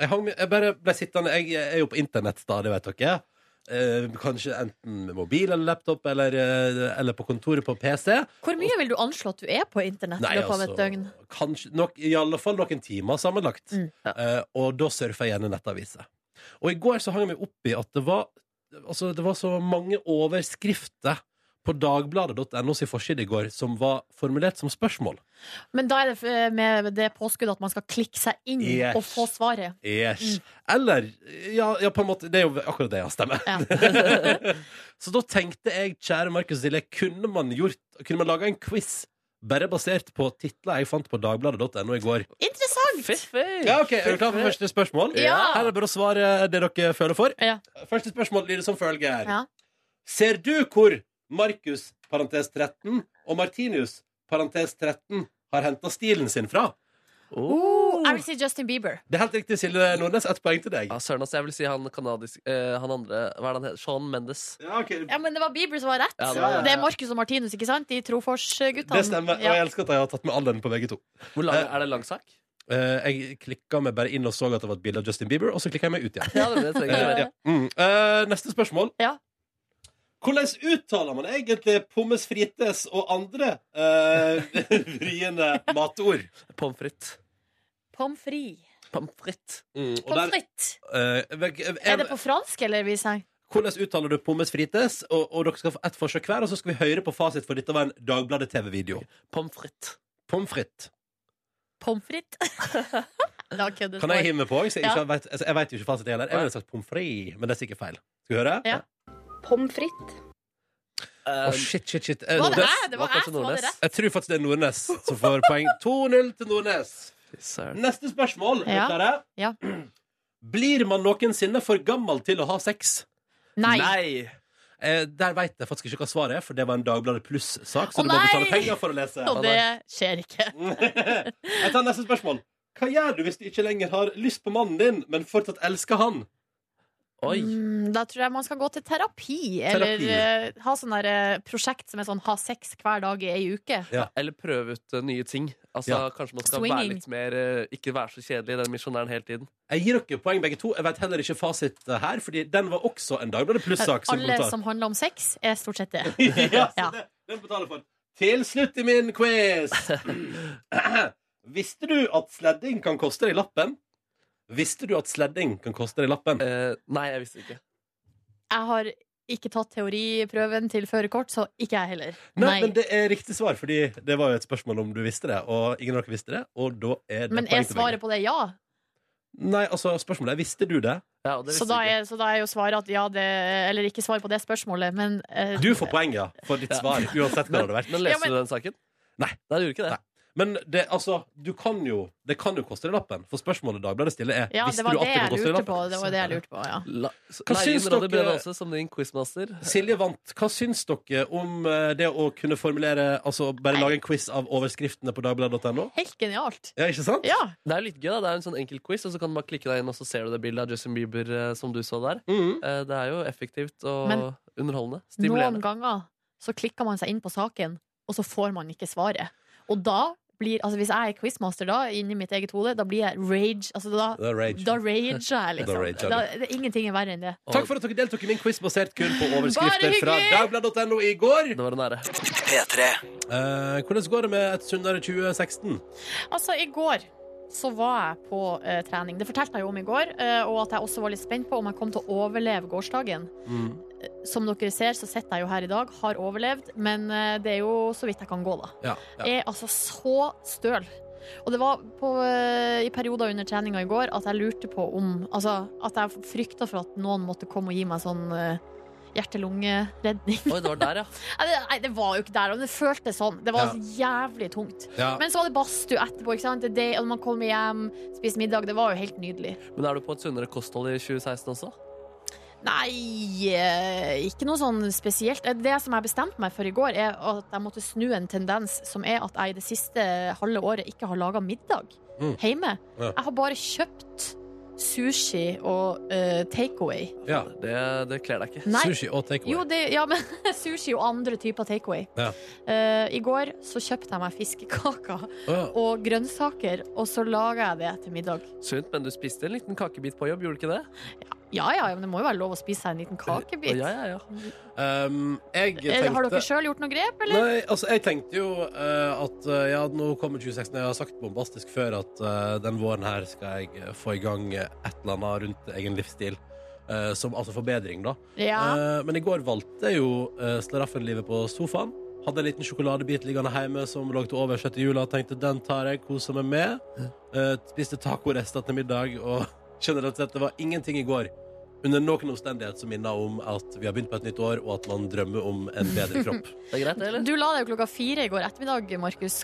jeg, hang, jeg bare ble sittende Jeg er jo på internett stadig, vet dere. Eh, kanskje enten med mobil eller laptop eller, eh, eller på kontoret på PC. Hvor mye vil du anslå at du er på internett i løpet av altså- et døgn? kanskje nok, I alle fall noen timer sammenlagt. Mm, Eh, og da surfer jeg gjerne nettaviser. Og i går så hang jeg meg opp i at det var, altså, det var så mange overskrifter på dagbladet.no sin forside i går som var formulert som spørsmål. Men da er det eh, med det påskuddet at man skal klikke seg inn Yes. og få svaret. Yes. Eller ja, ja, på en måte. Det er jo akkurat det, ja. Stemmer. Ja. så da tenkte jeg, kjære Markus Silje, kunne man gjort Kunne man laga en quiz bare basert på titler jeg fant på dagbladet.no i går? Interessant! Ja, ok, Er du klar for første spørsmål? Ja. Her er det bare å svare det dere føler for. Ja. Første spørsmål lyder som følger. Ja. Ser du hvor Markus, parentes 13, og Martinius, parentes 13, har henta stilen sin fra? oh. Jeg vil si Justin Bieber. Det er helt riktig, Silje Nordnes. Ett poeng til deg. Ja, søren, altså, jeg vil si han kanadisk eh, Han andre, hva er det han heter? Sean Mendes. Ja, ok, Ja, men det var Bieber som var rett. Ja, det, det var det. er Marcus og Martinus, ikke sant? De Trofors-guttene. Det stemmer. Og jeg elsker at jeg har tatt med alderen på begge to. Hvor lang, er det lang sak? Eh, jeg klikka meg bare inn og så at det var et bilde av Justin Bieber, og så klikka jeg meg ut igjen. Ja, det, det trenger jeg. Eh, ja. mm. Eh, neste spørsmål. Ja. Hvordan uttaler man egentlig pommes frites og andre eh, vriene matord? Pommes frites. Pommes frites. Pommes frites. Mm, og der, Pommes frites. eh, veg- Er det eh, på fransk, eller? Hvis jeg? hvordan uttaler du pommes frites? Og, og dere skal få ett forsøk hver, og så skal vi høre på fasit, for dette var en Dagbladet-TV-video. Pommes frites. Pommes frites. Pommes frites? da kødder Kan jeg hive meg på? Jeg, sier Ja. ikke, jeg, vet, altså, jeg vet jo ikke fasit heller. Jeg ville sagt pommes frites, men det er sikkert feil. Skal vi høre? Ja. Pommes frites. Å, shit, shit, shit. Eh, Hva det Nordnes. er? Det var Var jeg kanskje som hadde Nordnes? rett. Jeg tror faktisk det er Nordnes som får poeng. 2-0 til Nordnes. Søren. Neste spørsmål. Er Ja. dere klare? Ja. Blir man noensinne for gammel til å ha sex? Nei. Nei! Eh, der veit jeg faktisk ikke hva svaret er, for det var en Dagbladet Pluss-sak. Så Å, du må nei! betale penger for å lese. Og det skjer ikke. Jeg tar neste spørsmål. Hva gjør du hvis du ikke lenger har lyst på mannen din, men fortsatt elsker han? Oi. Mm, da tror jeg man skal gå til terapi, eller eh, ha sånn der eh, prosjekt som er sånn ha sex hver dag i ei uke. Eller prøve ut eh, nye ting. Altså, Ja. Kanskje man skal være Swinging. litt mer eh, Ikke være så kjedelig i den misjonæren hele tiden. Jeg gir dere poeng begge to. Jeg vet heller ikke fasit eh, her, fordi den var også en Dagbladet Pluss-sak. som Alle kommentar. som handler om sex, er stort sett det. ja, så Ja. det, den betaler for. Til slutt i min quiz. Visste du at sledding kan koste deg lappen? Visste du at sledding kan koste deg lappen? Eh, nei, jeg visste ikke. Jeg har ikke tatt teoriprøven til førerkort, så ikke jeg heller. Nei, men det er riktig svar, fordi det var jo et spørsmål om du visste det, og ingen av dere visste det, og da er det poeng Men er til begge. svaret på det ja? Nei, altså, spørsmålet er visste du det? Ja, og det Så visste da, jeg ikke. er, så da er jo svaret at ja, det, eller ikke svar på det spørsmålet, men eh, Du får poeng, ja, for ditt svar, uansett hva det hadde vært. Men Ja, leste men- du den saken? Nei. Nei, du gjorde ikke det. Nei. Men det, altså, du kan jo, det kan jo koste deg lappen. For spørsmålet Dagbladet stiller, er Ja, Visste det var du det at det jeg kunne koste deg lurte på. lappen? Det var det jeg lurte på, ja. La, Hva Leie syns inn Radio dere- Brevet også, som din quizmaster. Silje vant. Hva syns dere om eh, det å kunne formulere Altså bare lage en quiz av overskriftene på dagbladet.no? Helt genialt. Ja, ikke sant? Ja. Det er litt gøy, da. Det er en sånn enkel quiz, og så kan du bare klikke deg inn, og så ser du det bildet av Justin Bieber eh, som du så der. Mhm. Eh, Det er jo effektivt og Men- underholdende. Noen Stimulerende. ganger så klikker man seg inn på saken, og så får man ikke svaret. Og da blir Altså, hvis jeg er quizmaster da, inni mitt eget hode, da blir jeg rage. Altså, da Det er rage. da rager jeg, liksom. Da rager du. Da, det, ingenting er verre enn det. Takk for at dere deltok i min quiz basert kun på Bare overskrifter hyggelig! fra dagbladet.no i går. Det var en ære. P3. Eh, hvordan går det med et sunnere 2016? Altså, i går så var jeg på eh, trening. Det fortalte jeg jo om i går, eh, og at jeg også var litt spent på om jeg kom til å overleve gårsdagen. Eh, Mm. Som dere ser, så sitter jeg jo her i dag, har overlevd, men eh, det er jo så vidt jeg kan gå, da. Ja, ja. er altså så støl. Og det var på, eh, i perioder under treninga i går at jeg lurte på om Altså at jeg frykta for at noen måtte komme og gi meg sånn eh, hjerte-lunge-redning. Oi, det var der, ja. Nei, det- Nei, det var jo ikke der, men det føltes sånn. Det var jævlig tungt. ja. Men så var det badstue etterpå, ikke sant. Det, det, og man kommer hjem, spiser middag. Det var jo helt nydelig. Men er du på et sunnere kosthold i 2016 også? Nei, eh, ikke noe sånn spesielt. Eh, Det som jeg bestemte meg for i går, er at jeg måtte snu en tendens som er at jeg i det siste halve året ikke har laga middag Mm. hjemme. Ja. Jeg har bare kjøpt sushi og eh, takeaway. ja. Det, det kler deg ikke. Nei. Sushi og takeaway. Jo, det, ja, men sushi og andre typer takeaway. Ja. Eh, I går så kjøpte jeg meg fiskekaker Å, og grønnsaker, og så laga jeg det til middag. Sunt, men du spiste en liten kakebit på jobb, gjorde du ikke det? Ja ja, men det må jo være lov å spise seg en liten kakebit. Ja, ja, ja. ja. Um, Eh, jeg Eh, Har dere tenkte sjøl gjort noe grep, eller? Nei, altså jeg tenkte jo eh, at eh, ja, nå kommer 2016. Jeg har sagt bombastisk før at eh, den våren her skal jeg eh, få i gang eh, et eller annet rundt egen livsstil. eh, som, altså forbedring, da. Ja. Eh, men i går valgte jeg jo uh, slaraffenlivet på sofaen. Hadde en liten sjokoladebit liggende hjemme som lå til overs etter jula. Tenkte den tar jeg, koser meg med. Eh, spiste tacorester til middag. Og generelt sett, det var ingenting i går under noen omstendighet som minner om at vi har begynt på et nytt år, og at man drømmer om en bedre kropp. Det er greit, det, eller? Du la deg jo klokka fire i går ettermiddag, Markus.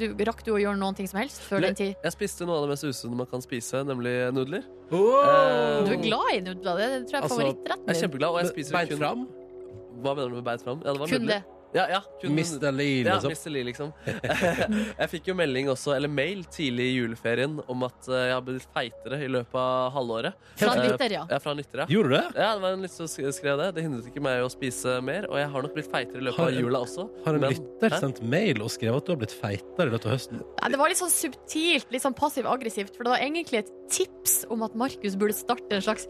Du, rakk du å gjøre noen ting som helst før Nei. den tid? Jeg spiste noe av det mest usunne man kan spise, nemlig nudler. Wow! Du er glad i nudler, det tror jeg er Altså, Jeg favorittretten er din. kjempeglad, og Eh, jeg Men spiser beint kun fram? Hva mener du med beit fram? Ja, det var Kun nudler. det. Ja, ja, kun nudler. Mr. Lee, Ja, liksom. Mr. Lee, liksom. jeg fikk jo melding også, eller mail tidlig i juleferien om at eh, jeg har blitt feitere i løpet av halvåret. Fra Eh, Glitter, ja. Ja, fra lyttere. Gjorde du det? Ja, det var en lytter som sk- skrev det. Det hindret ikke meg å spise mer, og jeg har nok blitt feitere i løpet Har av en- jula også. Har en men- lytter Hæ? sendt mail og skrevet at du har blitt feitere i løpet av høsten? Nei, Det var litt sånn subtilt, litt sånn passiv-aggressivt. For det var egentlig et tips om at Markus burde starte en slags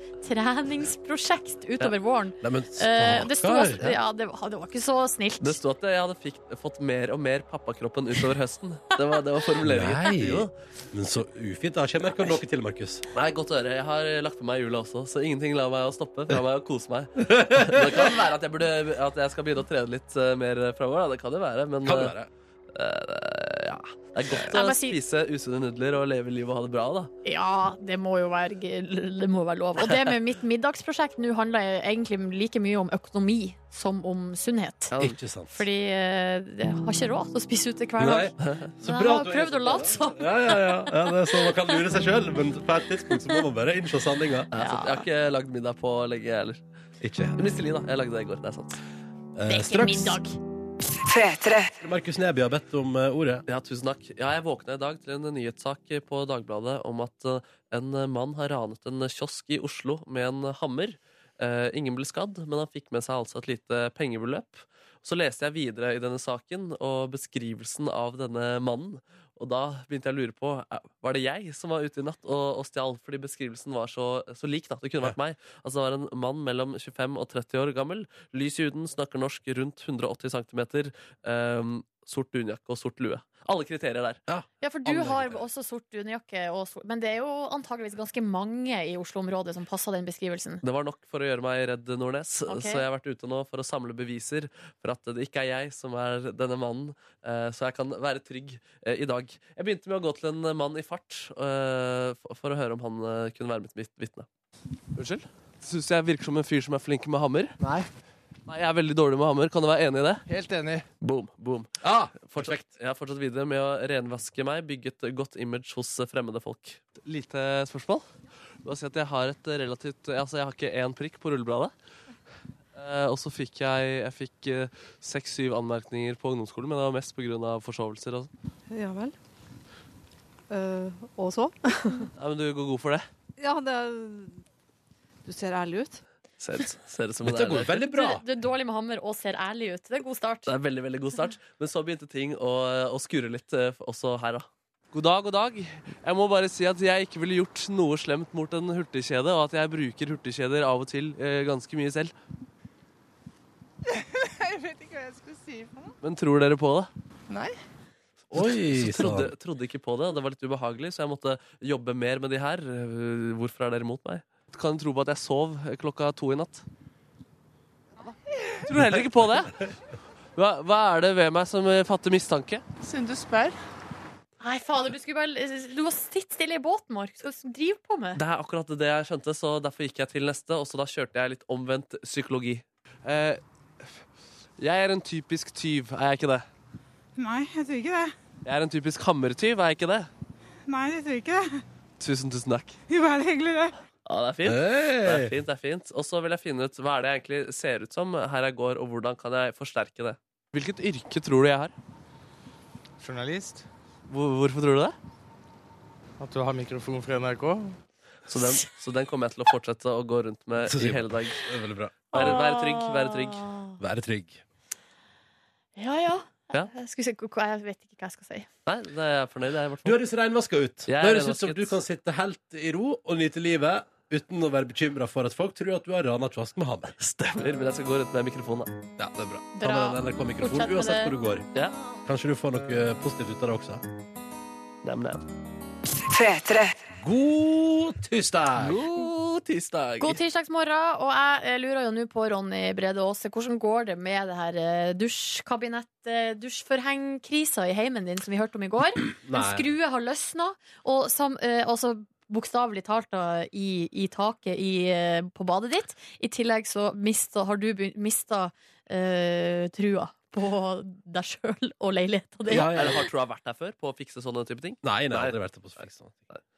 treningsprosjekt utover våren. Nei, men Eh, det, sto, stakkar! ja, det, var, det var ikke så snilt. Det sto at jeg hadde fikk, fått mer og mer pappakroppen utover høsten. Det var, det var formuleringen. Nei. Jo. Men så ufint. da Kjenn merker noe til, Markus. Nei, godt å høre. Jeg har lagt på meg jula også, så ingenting lar meg å stoppe fra meg å kose meg. Det kan være at jeg, burde, at jeg skal begynne å trene litt eh, mer framover. da. Det kan det være. Men Kan det være. eh, ja. det er godt Jeg å må si- spise usunne nudler og leve livet og ha det bra, da. Ja, det må jo være, g- det må være lov. Og det med mitt middagsprosjekt nå handler egentlig like mye om økonomi som om sunnhet. Ikke sant. Fordi eh, jeg har ikke råd til å spise ute hver Nei. dag. Så Men bra jeg at har du prøvd å late som. Ja, ja, ja. ja det er så Man kan lure seg sjøl, men på et tidspunkt så må man bare innse sanninga. Ja, sant. Jeg har ikke lagd middag på lenge, jeg heller. Ikke Men Mr. Lee, da. Jeg lagde det i går. Det er sant. Det eh, er ikke Straks. middag. Markus Neby har bedt om eh, ordet. Ja, tusen takk. Ja, jeg våkna i dag til en nyhetssak på Dagbladet om at eh, en mann har ranet en kiosk i Oslo med en hammer. Eh, ingen ble skadd, men han fikk med seg altså et lite pengebeløp. Så leste jeg videre i denne saken og beskrivelsen av denne mannen. Og da begynte jeg å lure på eh, var det jeg som var ute i natt og, og stjal. Fordi beskrivelsen var så, så lik. da, Det kunne vært meg. Altså, Det var en mann mellom 25 og 30 år gammel. Lys i huden, snakker norsk, rundt 180 cm. Ehm, sort dunjakke og sort lue. Alle kriterier der. Ja, for du Alle har heter det. også sort dunjakke, og sort, men det er jo antageligvis ganske mange i Oslo-området som passer den beskrivelsen. Det var nok for å gjøre meg redd, Nordnes. Ok. Så jeg har vært ute nå for å samle beviser for at det ikke er jeg som er denne mannen. eh, Så jeg kan være trygg eh, i dag. Jeg begynte med å gå til en mann i fart eh, for- for å høre om han eh, kunne være mitt vit- vitne. Unnskyld? Syns jeg virker som en fyr som er flink med hammer? Nei, Nei, jeg er veldig dårlig med hammer. Kan du være enig i det? Helt enig. Boom, boom. Ah, Fortsatt, jeg har fortsatt videre med å renvaske meg, bygge et godt image hos fremmede folk. Lite spørsmål. Bare si at jeg har et relativt Altså, jeg har ikke én prikk på rullebladet. Eh, og så fikk jeg Jeg fikk eh, seks-syv anmerkninger på ungdomsskolen, men det var mest pga. forsovelser. Og sånn. Ja vel. Eh, og så? Nei, men du går god for det. Ja, det er Du ser ærlig ut. Ser, ser det som en Dette går ære. veldig bra. Du, du er dårlig med hammer og ser ærlig ut. Det er en god start. Det er en veldig, veldig god start. Men så begynte ting å, å skure litt eh, også her, da. God dag, god dag. Jeg må bare si at jeg ikke ville gjort noe slemt mot en hurtigkjede, og at jeg bruker hurtigkjeder av og til eh, ganske mye selv. Jeg vet ikke hva jeg skulle si for noe. Men tror dere på det? Nei. Oi, Så trodde, trodde ikke på det, og det var litt ubehagelig, så jeg måtte jobbe mer med de her. Eh, Hvorfor er dere mot meg? Kan dere tro på at jeg sov eh, klokka to i natt? Tror heller ikke på det. Hva, hva er det ved meg som eh, fatter mistanke? Siden du spør. Nei, fader, du skulle bare Du må sitte stille i båten, Mark. Hva skal du drive på med? Det er akkurat det jeg skjønte, så derfor gikk jeg til neste, og så da kjørte jeg litt omvendt psykologi. Eh, jeg er en typisk tyv, er jeg ikke det? Nei, jeg tror ikke det. Jeg er en typisk hammertyv, er jeg ikke det? Nei, jeg tror ikke det. Tusen, tusen takk. Jo, er det hyggelig, det. Ja, det er fint. Det er Hey. fint, det er fint. Og så vil jeg finne ut hva er det jeg egentlig ser ut som her jeg går, og hvordan kan jeg forsterke det. Hvilket yrke tror du jeg har? Journalist. Hvor- Hvorfor tror du det? At du har mikrofon fra NRK. Så den, så den kommer jeg til å fortsette å gå rundt med i hele dag. Det er veldig bra. Være, være trygg, være trygg. Være trygg. Ja, ja. Ja. Jeg, skulle si, jeg vet ikke hva jeg skal si. Nei, det er jeg fornøyd, jeg, i hvert fall. Du høres reinvaska ut. Det Jeg er høres ut som renvasket. du kan sitte helt i ro og nyte livet uten å være bekymra for at folk tror at du har rana kiosk med hammer. Stemmer, men jeg skal gå rundt med mikrofonen. Ja, da. det er bra. Ta Bra. med den Fortsett NRK-mikrofonen med uansett det. hvor du går. Ja. Kanskje du får noe eh, positivt ut av det også. Nam, nam. God tirsdag! God tirsdag. God tirsdagsmorgen, og jeg eh, lurer jo nå på Ronny Brede Aase. Hvordan går det med det her eh, dusjkabinett, eh, dusjforhengkrisa i heimen din som vi hørte om i går? En skrue har løsna, og som, eh, altså bokstavelig talt da, i, i taket i, eh, på badet ditt. I tillegg så mista, har du begynt- mista eh, trua på deg sjøl og leiligheta di. Ja, ja, ja. Har Troa vært her før på å fikse sånne type ting? Nei, nei, aldri vært det på så fikst.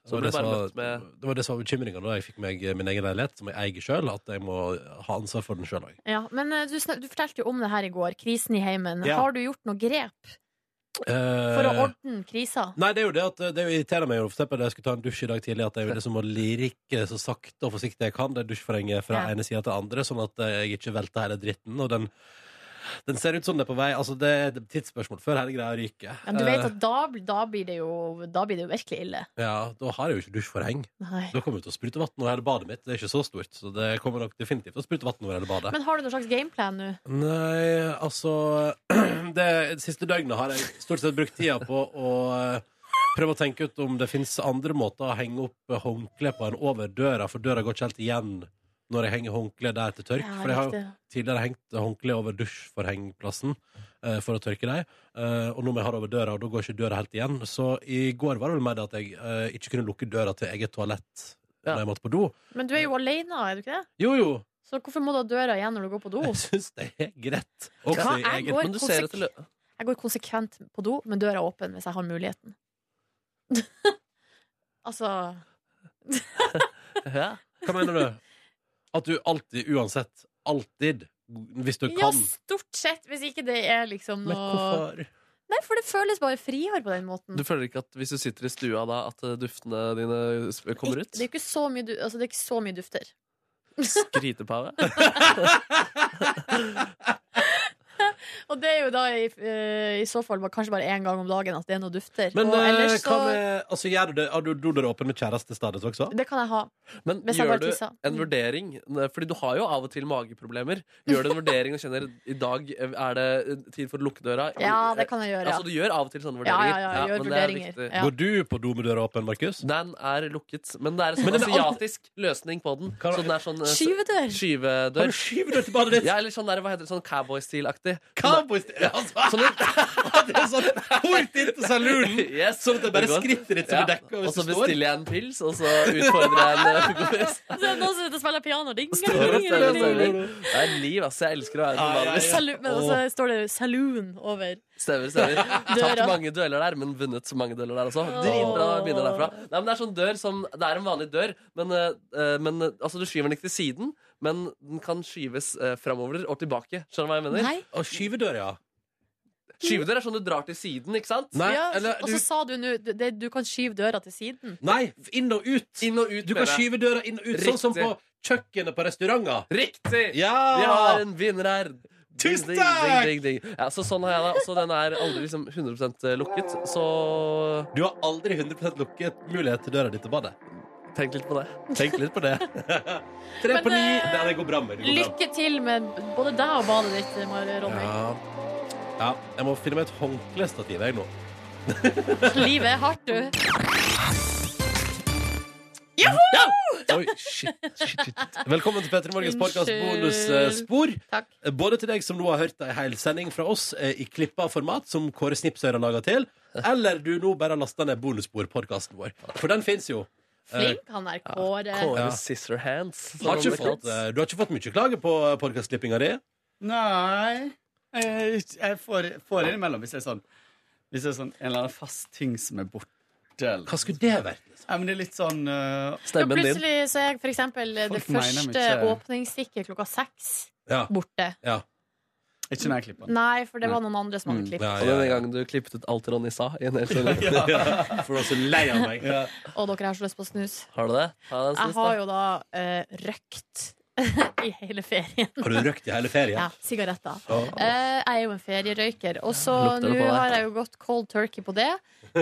Så Det var det, ble det bare som var, møtt med det var det som var bekymringa da jeg fikk meg eh, min egen leilighet, som jeg eier sjøl, at jeg må ha ansvar for den sjøl òg. Ja, men eh, du, snak- du fortalte jo om det her i går, krisen i heimen. Ja. Har du gjort noe grep for Eh, å ordne krisa? Nei, det er jo det at eh, det irriterer meg jo for eksempel da jeg skulle ta en dusj i dag tidlig, at jeg ville liksom å lirke så sakte og forsiktig jeg kan det dusjforhenget fra Ja. ene sida til andre, sånn at jeg ikke velter hele dritten. Og den, den ser ut som den er på vei. Altså, det er et tidsspørsmål før hele greia ryker. Men du vet Eh, at da, bl- da, blir det jo, da blir det jo virkelig ille. ja, da har jeg jo ikke dusjforheng. Nei. Da kommer jeg til å sprute vann over hele badet mitt. Det er ikke så stort, så det kommer nok definitivt til å sprute vann over hele badet. Men har du noen slags gameplan nå? Nei, altså Det siste døgnet har jeg stort sett brukt tida på å eh, prøve å tenke ut om det fins andre måter å henge opp håndkle på enn over døra, for døra går ikke helt igjen når jeg henger håndkle der til tørk. Ja, for jeg har jo riktig. tidligere hengt håndkle over dusjforhengplassen eh, for å tørke dem, eh, og nå må jeg ha det over døra, og da går ikke døra helt igjen. Så i går var det vel mer det at jeg eh, ikke kunne lukke døra til eget toalett Ja. når jeg måtte på do. Men du er jo alene, er du ikke det? Jo, jo, Så hvorfor må du ha døra igjen når du går på do? jeg syns det er greit. Også Ja, i jeg eget går Men du ser etter lø- Jeg går konsekvent på do, men døra er åpen hvis jeg har muligheten. altså ja. Hva mener du? At du alltid, uansett, alltid, hvis du Ja, kan stort sett, hvis ikke det er liksom noe Nei, for det føles bare friere på den måten. Du føler ikke at hvis du sitter i stua da, at eh, duftene dine s- kommer ut? Ik- Det er jo ikke så mye, du- altså, det er ikke så mye dufter. Skrytepave? Og det er jo da i, eh, i så fall bare- kanskje bare én gang om dagen at det er noe dufter. Men og ellers eh, hva med altså, gjør du det, Har du dodder åpen med kjæreste stadig også? Det kan jeg ha. Men Hvis jeg gjør bare du tisser. Mm. en vurdering? Ne, Fordi du har jo av og til mageproblemer. Gjør du en vurdering og kjenner i dag er det tid for å lukke døra? Ja, det kan jeg gjøre. Ja. Altså, du gjør av og til sånne Ja, vurderinger. ja, ja, jeg gjør men det er vurderinger. viktig. Ja. Går du på do med døra åpen, Markus? Den er lukket, men det er en Men sånn den er alt- asiatisk løsning på den. Kan- Så den er sånn eh, s- Har Skyvedør! du skyvedør. skyvedør til badet ditt? Ja, Sånn eller sånn der, hva heter det, sånn cowboystil-aktig. Cowboy Cowboys ja, altså. Det er sånn Port inn til saloonen! Yes. Sånn at det er bare går. skrittet ditt som er dekket hvis Og så du står. bestiller jeg en pils, og så utfordrer jeg en eh, kompis. Så er det noen som sitter og spiller piano. Ding, ding, Står opp, ding, står opp, ding, står ding. opp. Det er liv, ass. Jeg elsker å være Ja, på ja, ja. Salu- Men Åh. også står det 'saloon' over. Stemmer, stemmer. Døra. Tapt mange dueller der, men vunnet så mange dueller der også. Dritbra begynner derfra. Nei, men Det er sånn dør som Det er en vanlig dør, men, eh, men eh, altså, du skyver den ikke til siden, men den kan skyves uh, framover og tilbake. Skjønner du hva jeg mener? Nei. Og skyvedør, ja. Skyvedør er sånn du drar til siden, ikke sant? ja, altså og så sa du nå du- det- du kan skyve døra til siden. Nei, inn og ut. du kan mener jeg. skyve døra inn og ut, sånn som på Riktig. kjøkkenet på restauranter. Riktig! Ja! Vi har en vinner her. Ding, Tusen ding, takk! ding, ding, ding. Ja, så sånn har jeg det. Så den er aldri liksom 100 lukket. Så Du har aldri 100 lukket mulighet til døra di til badet. Tenk litt på det. Tenk litt på det. Tre Men, på ni. eh, Nei, det går bra med. Det går bra. Lykke til med både deg og badet ditt, Mari Ronny. Ja. ja. Jeg må finne meg et håndklestativ, jeg nå. Livet er hardt, du. Eh, Ja! Oi, shit, shit, shit. Velkommen til Petter Morgens podkast Unnskyld. bonusspor. Takk. Eh, Både til deg som nå har hørt ei hel sending fra oss eh, i klippa format, som Kåre Snipsøyr har laga til, eller du nå bare har lasta ned bonusspor-podkasten vår. For den fins jo. Eh, Flink han der Kåre. Ja. Kåre Sånn. Sister Hands. som Har ikke det kalles. fått, eh, du har ikke fått mye klage på podkastklippinga di? Nei eh, Jeg får, får innimellom hvis det er sånn Hvis det er sånn en eller annen fast ting som er borte. Hva skulle det vært? Nei, men det er litt sånn eh, Ja, plutselig så er for eksempel det Folk mener første mye. åpningsstikket klokka seks. Ja. borte. Ja. Ikke når jeg klipper den. Nei, for det var noen andre som hadde klippet. Og den gangen du klippet ut alt Ronny sa i en hel sending. Ja, ja. For du var så lei av meg. Og dere har så lyst på snus. Har du det? Ta deg en Jeg snus, har da. jo da eh, røkt i hele ferien. Har du røkt i hele Ja, ferien? sigaretter. Ja. Eh, jeg er jo en ferierøyker, og så Lukter nå det på deg? har jeg jo gått cold turkey på det.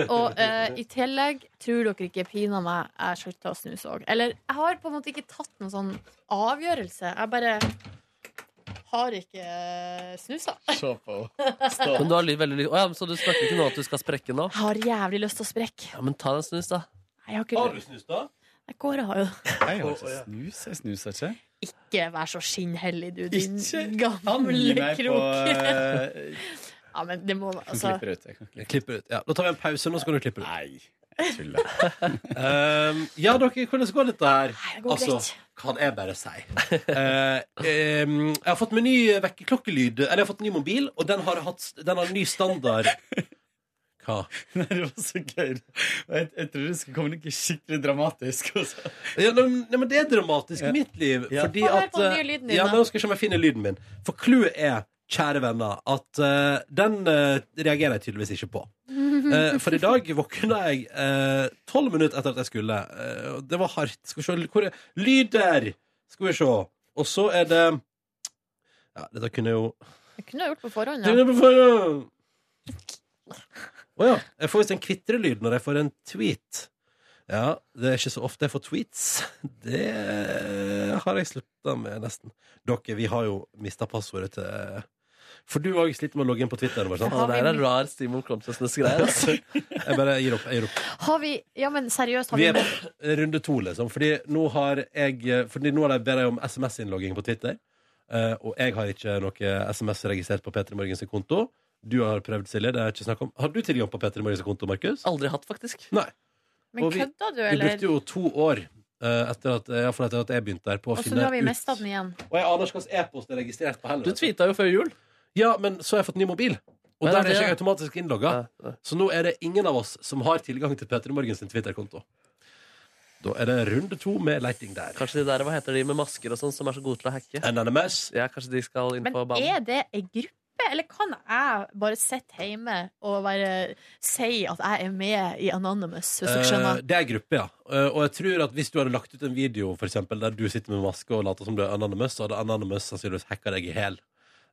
Og eh, i tillegg tror dere ikke pina meg jeg slutta å snuse òg. Eller jeg har på en måte ikke tatt noen sånn avgjørelse. Jeg bare har ikke eh, snusa. Se på Men du har ly- veldig ly- Å ja, men Så du snakker ikke nå at du skal sprekke nå? Jeg har jævlig lyst til å sprekke. Ja, men ta deg en snus, da. Nei, Jeg har ikke snus, da? Jeg går og har jo Jeg har ikke snus. Jeg snuser ikke. Ikke vær så skinnhellig, du, din Ikke Gi gamle meg på krok. eh, Ja, men det må altså Jeg klipper ut. Jeg kan klippe Klipper ut. Ja. Da tar vi en pause, nå skal du klippe ut. Nei, tuller. um, ja, dere, hvordan går dette her? går altså, greit. kan jeg bare si. Eh, um, jeg har fått med ny vekkerklokkelyd, eller jeg har fått ny mobil, og den har, hatt, den har ny standard. Hva? Nei, det var så gøy. Jeg, jeg trodde det skulle komme noe skikkelig dramatisk. Også. Ja, nei, men- nei, men det er dramatisk i mitt liv. Fordi Få høre at, på den nye eh, lyden din, ja, da. nå skal jeg se om jeg finner lyden min. For clouet er, kjære venner, at eh, den eh, reagerer jeg tydeligvis ikke på. Eh, for i dag våkna jeg eh, tolv minutter etter at jeg skulle. eh, og det var hardt. Skal vi se hvor er Lyder! Skal vi se. Og så er det Ja, dette kunne jeg jo Jeg kunne ha gjort på forhånd. Kunne Ja. jeg på forhånd! Å ja. Jeg får visst en kvitrelyd når jeg får en tweet. Ja, det er ikke så ofte jeg får tweets. Det har jeg slutta med, nesten. Dere, vi har jo mista passordet til For du òg sliter med å logge inn på Twitter? Bare, sant? Ja, det her er rar Simon Klomsøsnes-greier. Altså. Jeg bare gir opp. Jeg gir opp. Har vi Ja, men seriøst, har Vi vi er på runde to, liksom. Fordi nå har jeg Fordi nå har de bedt om SMS-innlogging på Twitter. eh, og jeg har ikke noe SMS registrert på P3 Morgens konto. Du har prøvd, Silje. det er ikke snakk om Har du tilgang på P3 Morgens konto, Markus? Aldri hatt, faktisk. Nei. Men Og vi- kødda du, Vi eller? brukte jo to år eh, etter, at, i hvert fall etter at jeg begynte der, på å Og så finne nå har vi ut mista den igjen. Og jeg aner ikke hvilken e-post det er registrert på heller. Du tweeta jo før jul. Ja, men så har jeg fått ny mobil. Og Ja, der er det er ikke jeg det. automatisk innlogga. Så nå er det ingen av oss som har tilgang til P3 Morgens Twitter-konto. Da er det runde to med leiting der. Kanskje de der, Hva heter de med masker og sånn som er så gode til å hacke? NNMS. Ja, kanskje de skal inn Men på banen. er det ei gruppe, eller kan jeg bare sitte hjemme og bare si at jeg er med i Anonymous, hvis dere Eh, skjønner? Det er gruppe, ja. Eh, og jeg tror at hvis du hadde lagt ut en video for eksempel, der du sitter med maske og later som du er Anonymous, så hadde Anonymous sannsynligvis hacka deg i hæl.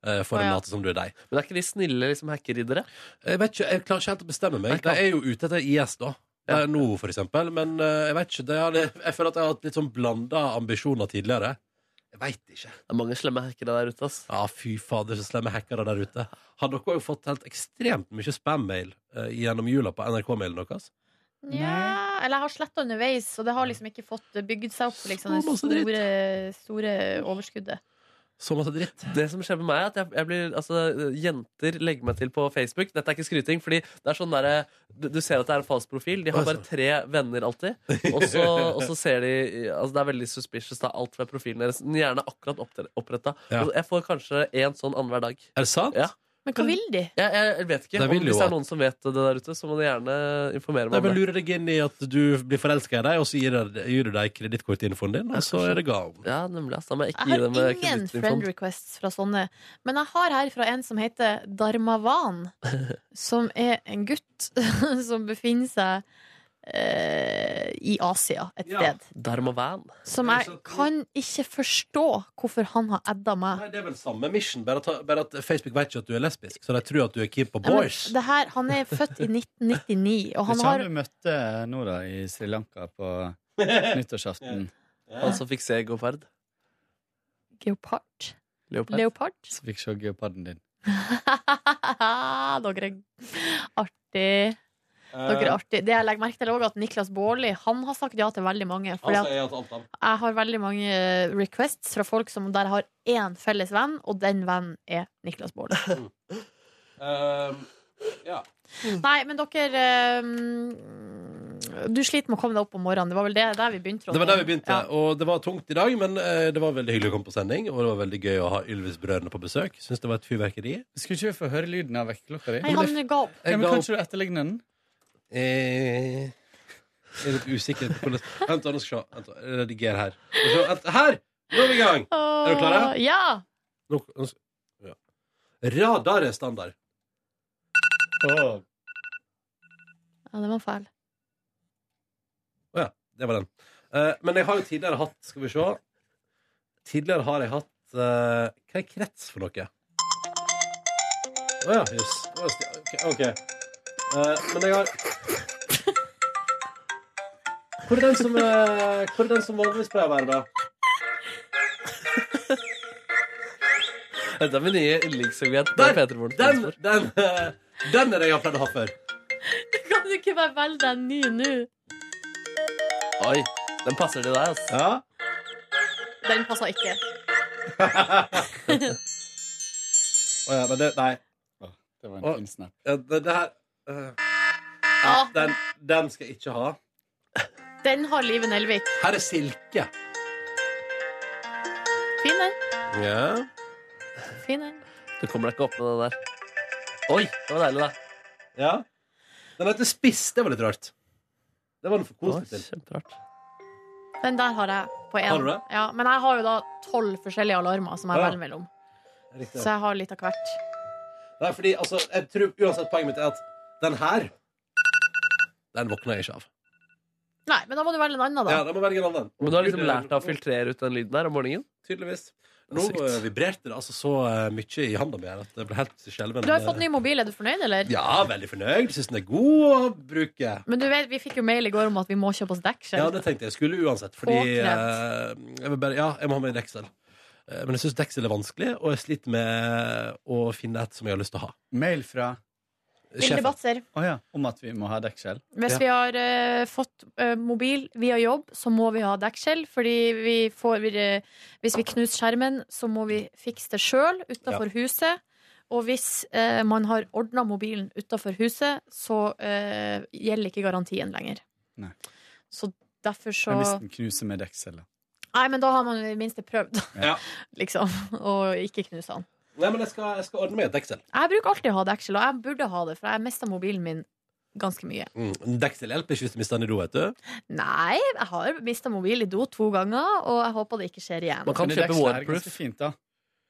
eh, For å Å, ja. late som du er deg. Men er ikke de snille liksom, hackeriddere? Jeg vet ikke, jeg klarer ikke helt å bestemme meg. De er jo ute etter IS, da. Eh, Nå, for eksempel. Men eh, jeg vet ikke. Det har, jeg føler at jeg har hatt litt sånn blanda ambisjoner tidligere. Jeg veit ikke. Det er mange slemme hackere der ute. Ass. Ja, fy fader, så slemme hackere der ute. Har dere òg fått helt ekstremt mye spam-mail eh, gjennom jula på NRK-mailen deres? Ja, eller jeg har sletta underveis, Sånn og det har liksom ikke fått bygd seg opp liksom, Så det masse store, store overskuddet. Så masse dritt. Det som skjer med meg, er at jeg, jeg blir Altså, jenter legger meg til på Facebook. Dette er ikke skryting, fordi det er sånn derre du, du ser at det er en falsk profil. De har bare tre venner alltid. Og så, og så ser de Altså, det er veldig suspicious, da. Alt fra profilen deres. Den gjerne akkurat oppretta. Ja. Jeg får kanskje én sånn annenhver dag. Er det sant? Ja. Men hva vil de? Jeg, jeg vet ikke. De Om, vil jo hvis det at- er noen som vet det der ute, så må de gjerne informere Nei, meg men om det. lurer deg inn i at du blir forelska i deg, og så gir, deg- gir du deg kredittkortinfoen din, og så er det galt. Ja, nemlig. ass. Da må jeg ikke Jeg gi dem eh, har ingen friend kredittinformasjon. requests fra sånne, men jeg har her fra en som heter Darmavan, som er en gutt som befinner seg eh, i Asia et sted. Darmavan. Som jeg kan ikke forstå hvorfor han har adda meg. Nei, det er vel samme mission, bare, ta, bare at Facebook vet ikke at du er lesbisk, så de tror at du er keen på Ja, men boys. Det her, han er født i 1999, og han Ikke har han du møtte Nora i Sri Lanka på nyttårsaften? Han som Altså, fikk se Goferd? geopard. Leopard? Leopard? Som fikk se geoparden din. Dere er artig. Dere er Eh. artig. Det jeg legger merke til er også at Niklas Baarli Han har sagt ja til veldig mange. Fordi Han at sier at alt annet. jeg har veldig mange eh, requests fra folk som der har én felles venn, og den vennen er Niklas Baarli. Ehm, ja. Mm. Nei, men dere eh, Du sliter med å komme deg opp om morgenen. Det var vel det der vi begynte? Ronny. Det var der vi begynte, Ja. og det var tungt i dag, men eh, det var veldig hyggelig å komme på sending, og det var veldig gøy å ha Ylvis-brødrene på besøk. Syns det var et fyrverkeri. Skulle ikke vi få høre lyden av vekkerklokka di? Nei, han ga opp. Ja, men ga kan opp. ikke du etterligne den? Eh, jeg er litt usikker på hvordan Vent, da, nå skal vi se. Vent da, Rediger her. Skal vi se, vent, Her! Nå er vi i gang! Er dere klare? Ja! Nå, nå, s- ja. Radar er standard. ja det var feil. Å ja, det var den. Eh, men jeg har jo tidligere hatt Skal vi se. Tidligere har jeg hatt eh, Hva er krets for noe? Å ja, jøss. Å, sti- OK. ok. Eh, men jeg har Hvor er den som, eh, hvor er den som vanligvis pleier å være, da? Dette er min nye yndlingssegment. Der! med Peter Morten. Den, den, eh, den er det jeg har pleid å ha før. Kan du ikke bare velge deg en ny nå? Oi, den passer til deg, ass. Den passer ikke. Å ja, men det Nei. Det var en fin snap. det, det her eh, ja, den, den skal jeg ikke ha. Den har Live Nelvik. Her er silke. Fin den. Ja. Fin den. Du kommer deg ikke opp med den der. Oi, det var deilig, da. Ja. Den heter Spiss. Det var litt rart. Det var den for koselig til. Den der har jeg på én. Har du det? Ja, men jeg har jo da tolv forskjellige alarmer som jeg Ja. velger mellom. Riktig. Så jeg har litt av hvert. Nei, fordi altså, jeg tror uansett poenget mitt er at den her Den våkner jeg ikke av. Nei, men da må du velge en annen, da. Ja, da må velge en annen. Men du har liksom lært deg å filtrere ut den lyden der om morgenen? Tydeligvis. Nå Sykt. eh, vibrerte det altså så eh, mye i handa mi her at jeg ble helt skjelven. eh, Du har jo fått ny mobil, er du fornøyd, eller? Ja, veldig fornøyd. Syns den er god å bruke. Men du vet, vi fikk jo mail i går om at vi må kjøpe oss deksel. Ja, det tenkte jeg skulle uansett. Fordi eh, jeg, vil bare, ja, jeg må ha med deksel. Eh, Men jeg syns deksel er vanskelig, og jeg sliter med å finne et som jeg har lyst til å ha. Mail fra Vilde Batzer. Å ja, om at vi må ha dekkskjell? Hvis vi har eh, fått eh, mobil via jobb, så må vi ha dekkskjell. Fordi vi får, vi, eh, hvis vi knuser skjermen, så må vi fikse det sjøl utafor huset. Og hvis eh, man har ordna mobilen utafor huset, så eh, gjelder ikke garantien lenger. Nei. Så derfor så Men hvis den knuser med dekkskjellet? Nei, men da har man i det minste prøvd, Ja. liksom. Og ikke knuse den. Nei, men jeg skal, jeg skal ordne meg et deksel. Jeg bruker alltid å ha deksel, og jeg burde ha det, for jeg mista mobilen min ganske mye. Mm. Deksel hjelper ikke hvis du mister den i do, vet du. Nei, jeg har mista mobil i do to ganger, og jeg håper det ikke skjer igjen. Man kan Men det kjøpe dekkskjellet er waterproof. ganske Fint, da.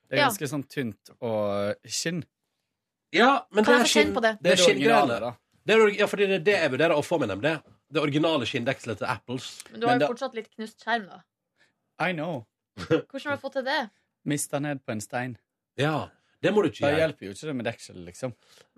Det er Ja. ganske sånn tynt og skinn. Ja, men Kan det jeg er få kjenne skinn- på det? Det Det er er det originale, skinngreiene. Det er, ja, fordi det er det jeg vurderer å få med dem. Det, det originale skinndekselet til Apples. Men du har Men jo da- fortsatt litt knust skjerm, da. I know. Hvordan har du fått til det? Mista ned på en stein. Ja, det må du ikke Da gjøre. hjelper jo ikke det med dekkskjell, liksom.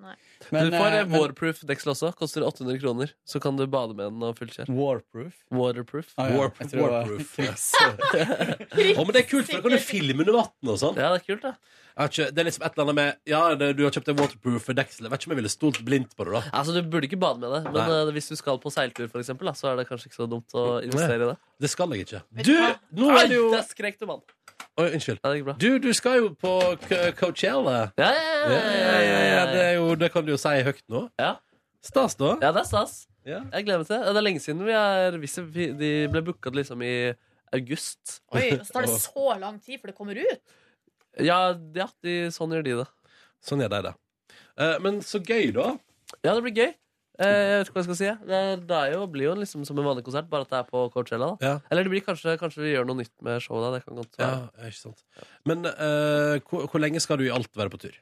Nei. Men, du får eh, eh, men- waterproof deksel også. Koster 800 kroner. Så kan du bade med den og fullkjøre. Warproof? Waterproof. Ah, ja. Warp- Jeg tror det var- warproof. Å, men det er kult, for da kan du filme under vann og sånn. Ja, det er kult, da. Jeg har ikke- Det er liksom et eller annet med Ja, det, du har kjøpt en waterproof deksel. Jeg vet ikke om jeg ville stolt blindt på det, da. Altså, Du burde ikke bade med det, men Nei. eh, hvis du skal på seiltur, for eksempel, da, så er det kanskje ikke så dumt å investere i det. Det skal jeg ikke. Vet Du, du hva? nå er det jo Ai, der skrek du, mann. Oi, unnskyld. Du, du skal jo på K- Coachella. Ja, ja, ja, ja, ja, ja. Det, er jo, det kan du jo si høyt nå. Stas, da. Ja, det er stas. Jeg gleder meg til det. Det er lenge siden vi er hvis vi- De ble booka liksom i august. Oi, så tar det så lang tid før det kommer ut. Ja, ja de, sånn gjør de det. Sånn gjør de det. Eh, men så gøy, da. Ja, det blir gøy. Eh, jeg vet ikke hva jeg skal si. jeg. Det, det er jo, blir jo liksom som en vanlig konsert, bare at det er på Coachella. Da. Ja. Eller det blir kanskje, kanskje vi gjør noe nytt med showet. Da. Det kan godt være. Ja, ikke sant. Men eh, hvor, hvor lenge skal du i alt være på tur?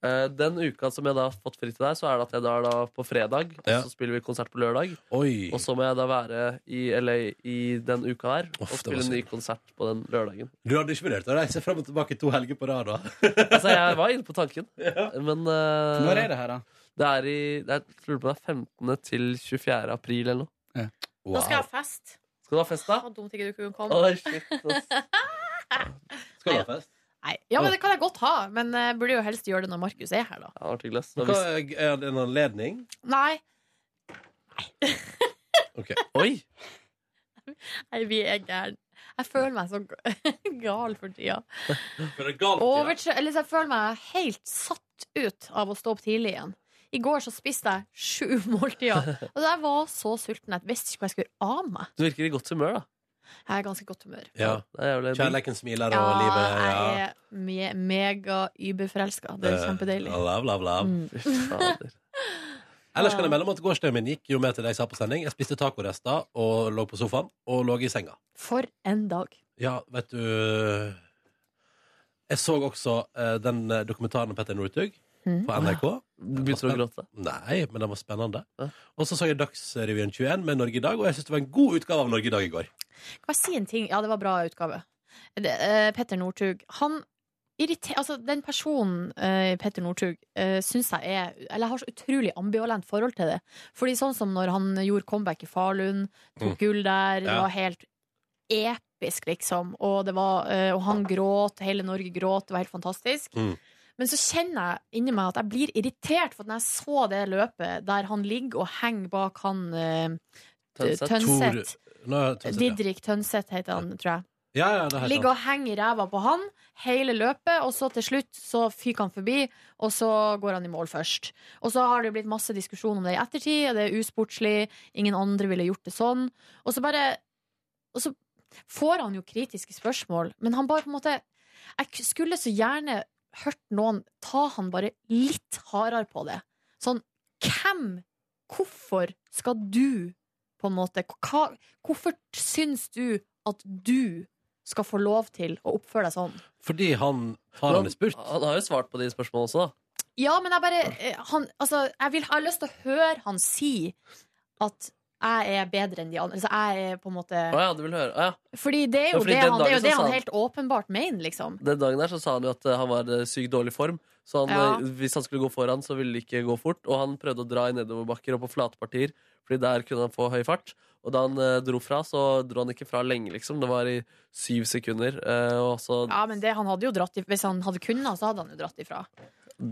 Eh, den uka som jeg da har fått fri til deg, så er det at jeg drar da på fredag. Ja. Og så spiller vi konsert på lørdag. Oi. Og så må jeg da være i LA i den uka her og det var spille en ny konsert på den lørdagen. Du hadde ikke vurdert å reise fram og tilbake to helger på rad, da? Altså, jeg var inne på tanken, men eh, Når er det her, da? Det er i det er, jeg lurer på det er 15. til 24. april eller noe. Nå skal jeg ha fest. Skal du ha fest, da? Å, dumt ikke du kunne komme. Oi, shit, Skal du ha fest? Nei. Ja, men det kan jeg godt ha. Men jeg burde jo helst gjøre det når Markus er her, da. Ja, artig, ass. Men hva, er det en anledning? Nei, Ok. Oi! nei vi er gæren. Jeg føler meg så g- gal for tida. For det er galt, ja. Overtrø eller, så jeg føler meg helt satt ut av å stå opp tidlig igjen. I går så spiste jeg sju måltider. Og jeg var så sulten at jeg visste ikke hva jeg skulle gjøre av meg. Du virker i godt humør, da. Jeg er i ganske godt humør. Ja. Kjærleiken smiler, og livet Ja, ja. jeg er me mega überforelska. Det er Eh, kjempedeilig. Mm. Love, love, love. Ellers kan jeg melde om at gårsdagen min gikk jo med til deg sa på sending. Jeg spiste tacorester og lå på sofaen og lå i senga. For en dag. Ja, vet du Jeg så også eh, den eh, dokumentaren om Petter Northug Mhm. på NRK. Du begynte å gråte? Nei, men den var spennende. Og så så jeg Dagsrevyen 21 med Norge i dag, og jeg syns det var en god utgave av Norge i dag i går. Kan jeg si en ting? Ja, det var bra utgave. Det, eh, Petter Northug, han irriterer Altså, den personen eh, Petter Northug uh, syns jeg er Eller jeg har så utrolig ambivalent forhold til det. Fordi sånn som når han gjorde comeback i Falun, tok Mm. gull der, det Ja. var helt episk, liksom. Og, det var, eh, og han gråt, hele Norge gråt, det var helt fantastisk. Mm. Men så kjenner jeg inni meg at jeg blir irritert for at når jeg så det løpet der han ligger og henger bak han eh, Tønseth. Tor- Nå, Tønseth, ja. Didrik Tønseth heter han, tror jeg. Ja, ja, det heter Eh, Ligger han. og henger i ræva på han hele løpet, og så til slutt så fyker han forbi, og så går han i mål først. Og så har det blitt masse diskusjon om det i ettertid, og det er usportslig, ingen andre ville gjort det sånn. Og så bare Og så får han jo kritiske spørsmål, men han bare på en måte Jeg k- skulle så gjerne hørt noen ta han bare litt hardere på det. Sånn Hvem? Hvorfor skal du, på en måte hva, Hvorfor syns du at du skal få lov til å oppføre deg sånn? Fordi han har han spurt? Han har jo svart på de spørsmålene også, da. Ja, men jeg bare eh, han, altså, jeg, vil, jeg har lyst til å høre han si at jeg er bedre enn de andre. Altså, jeg er på en måte Å ja, du vil høre? Å, ja. Fordi det er Ja, jo fordi det den han, det dagen er jo det så sa han han- helt åpenbart mener, liksom. Den dagen der så sa han jo at eh, han var i sykt dårlig form. Så han, Ja. eh, hvis han skulle gå foran, så ville det ikke gå fort. Og han prøvde å dra i nedoverbakker og på flatpartier, Fordi der kunne han få høy fart. Og da han eh, dro fra, så dro han ikke fra lenge, liksom. Det var i syv sekunder. eh, og så Ja, men det, han hadde jo dratt i, Hvis han hadde kunnet, så hadde han jo dratt ifra.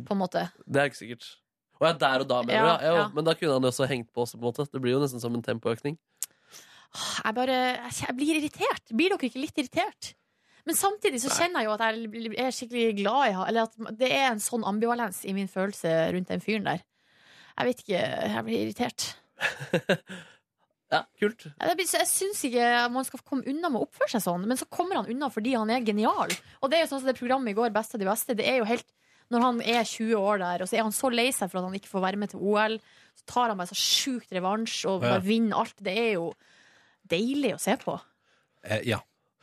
På en måte. Det er ikke sikkert. Å ja, der og da, mener Ja, du? Ja, ja. ja. Men da kunne han jo også hengt på også, på en måte. Det blir jo nesten som en tempoøkning. Jeg bare jeg, jeg blir irritert. Blir dere ikke litt irritert? Men samtidig så kjenner jeg jo at jeg er skikkelig glad i han Eller at det er en sånn ambivalens i min følelse rundt den fyren der. Jeg vet ikke. Jeg blir irritert. ja, kult. Jeg, blir- så jeg syns ikke man skal komme unna med å oppføre seg sånn, men så kommer han unna fordi han er genial. Og det er jo sånn som det programmet i går, Best av de beste, det er jo helt når han er 20 år der, og så er han så lei seg for at han ikke får være med til OL, så tar han bare så sjukt revansj og Ja. bare vinner alt. Det er jo deilig å se på. Eh, ja.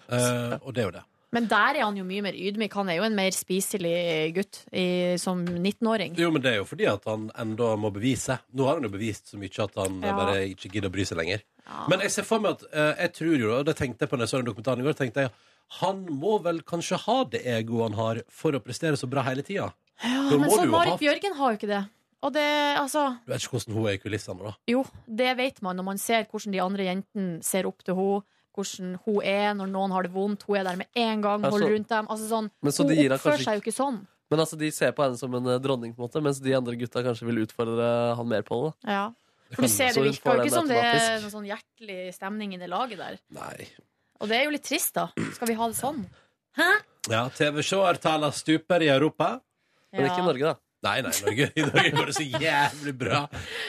Eh, og det er jo det. Men der er han jo mye mer ydmyk. Han er jo en mer spiselig gutt i, som 19-åring. Jo, men det er jo fordi at han enda må bevise. Nå har han jo bevist så mye at han eh, Ja. bare ikke gidder å bry seg lenger. Men jeg ser for meg at eh, jeg tror jo, og det tenkte jeg på når jeg så den dokumentaren i går, tenkte jeg han må vel kanskje ha det egoet han har for å prestere så bra hele tida. Ja, Da men må så du jo ha Marit Bjørgen har jo ikke det. Og det, altså Du vet ikke hvordan hun er i kulissene, da. Jo, det vet man når man ser hvordan de andre jentene ser opp til henne. Hvordan hun er når noen har det vondt. Hun er der med en gang, Ja, så- holder rundt dem. Altså sånn, Men så de hun gir deg oppfører kanskje seg jo ikke sånn. Men altså, de ser på henne som en eh, dronning, på en måte, mens de andre gutta kanskje vil utfordre han mer på det. da. Ja. Det For kan- du ser, så det hun får virker jo den ikke som det er automatisk. noen sånn hjertelig stemning i det laget der. Nei. Og det er jo litt trist, da. Skal vi ha det sånn? Hæ? Ja, TV-seertallene stuper i Europa. Men ikke i Norge, da. Nei, nei, Norge. i Norge går det så jævlig bra.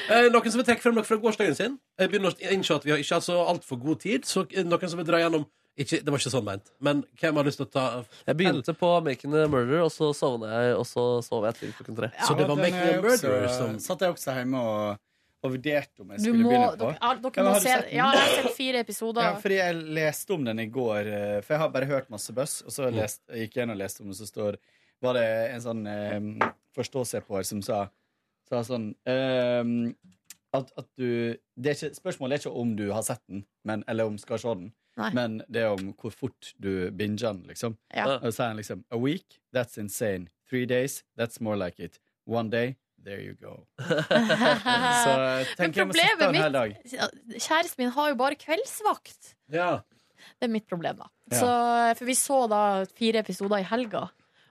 Eh, noen som vil trekke frem noe fra gårsdagen sin? Jeg begynner å innse at vi har ikke hatt så altfor god tid. Så eh, noen som vil dra gjennom ikke, Det var ikke sånn meint, men hvem har lyst til å ta Jeg begynte på Making a Murder, og så sovna jeg, og så sov jeg til klokken tre. Ja, den er jeg også- Satt jeg også hjemme og, og vurderte om jeg Du skulle må, begynne på. dere, ja, dere Ja, må har du se sett den? Ja, jeg har sett fire episoder. Ja, fordi jeg leste om den i går, eh, for jeg har bare hørt masse buzz, og så lest, jeg gikk jeg inn og leste om den, så står, var det en sånn eh, forståsepåer som sa, sa sånn eh, at, at du det er ikke, Spørsmålet er ikke om du har sett den, men, eller om skal se den, Nei. men det er om hvor fort du binger den, liksom. Ja. Og så sier han liksom A week, that's insane. Three days, that's more like it. One day, there you go. så eh, Men tenker jeg må sette problemet den her dag. mitt Kjæresten min har jo bare kveldsvakt. eh, Ja. Det er mitt problem, da. Ja. Så, for vi så da fire episoder i helga.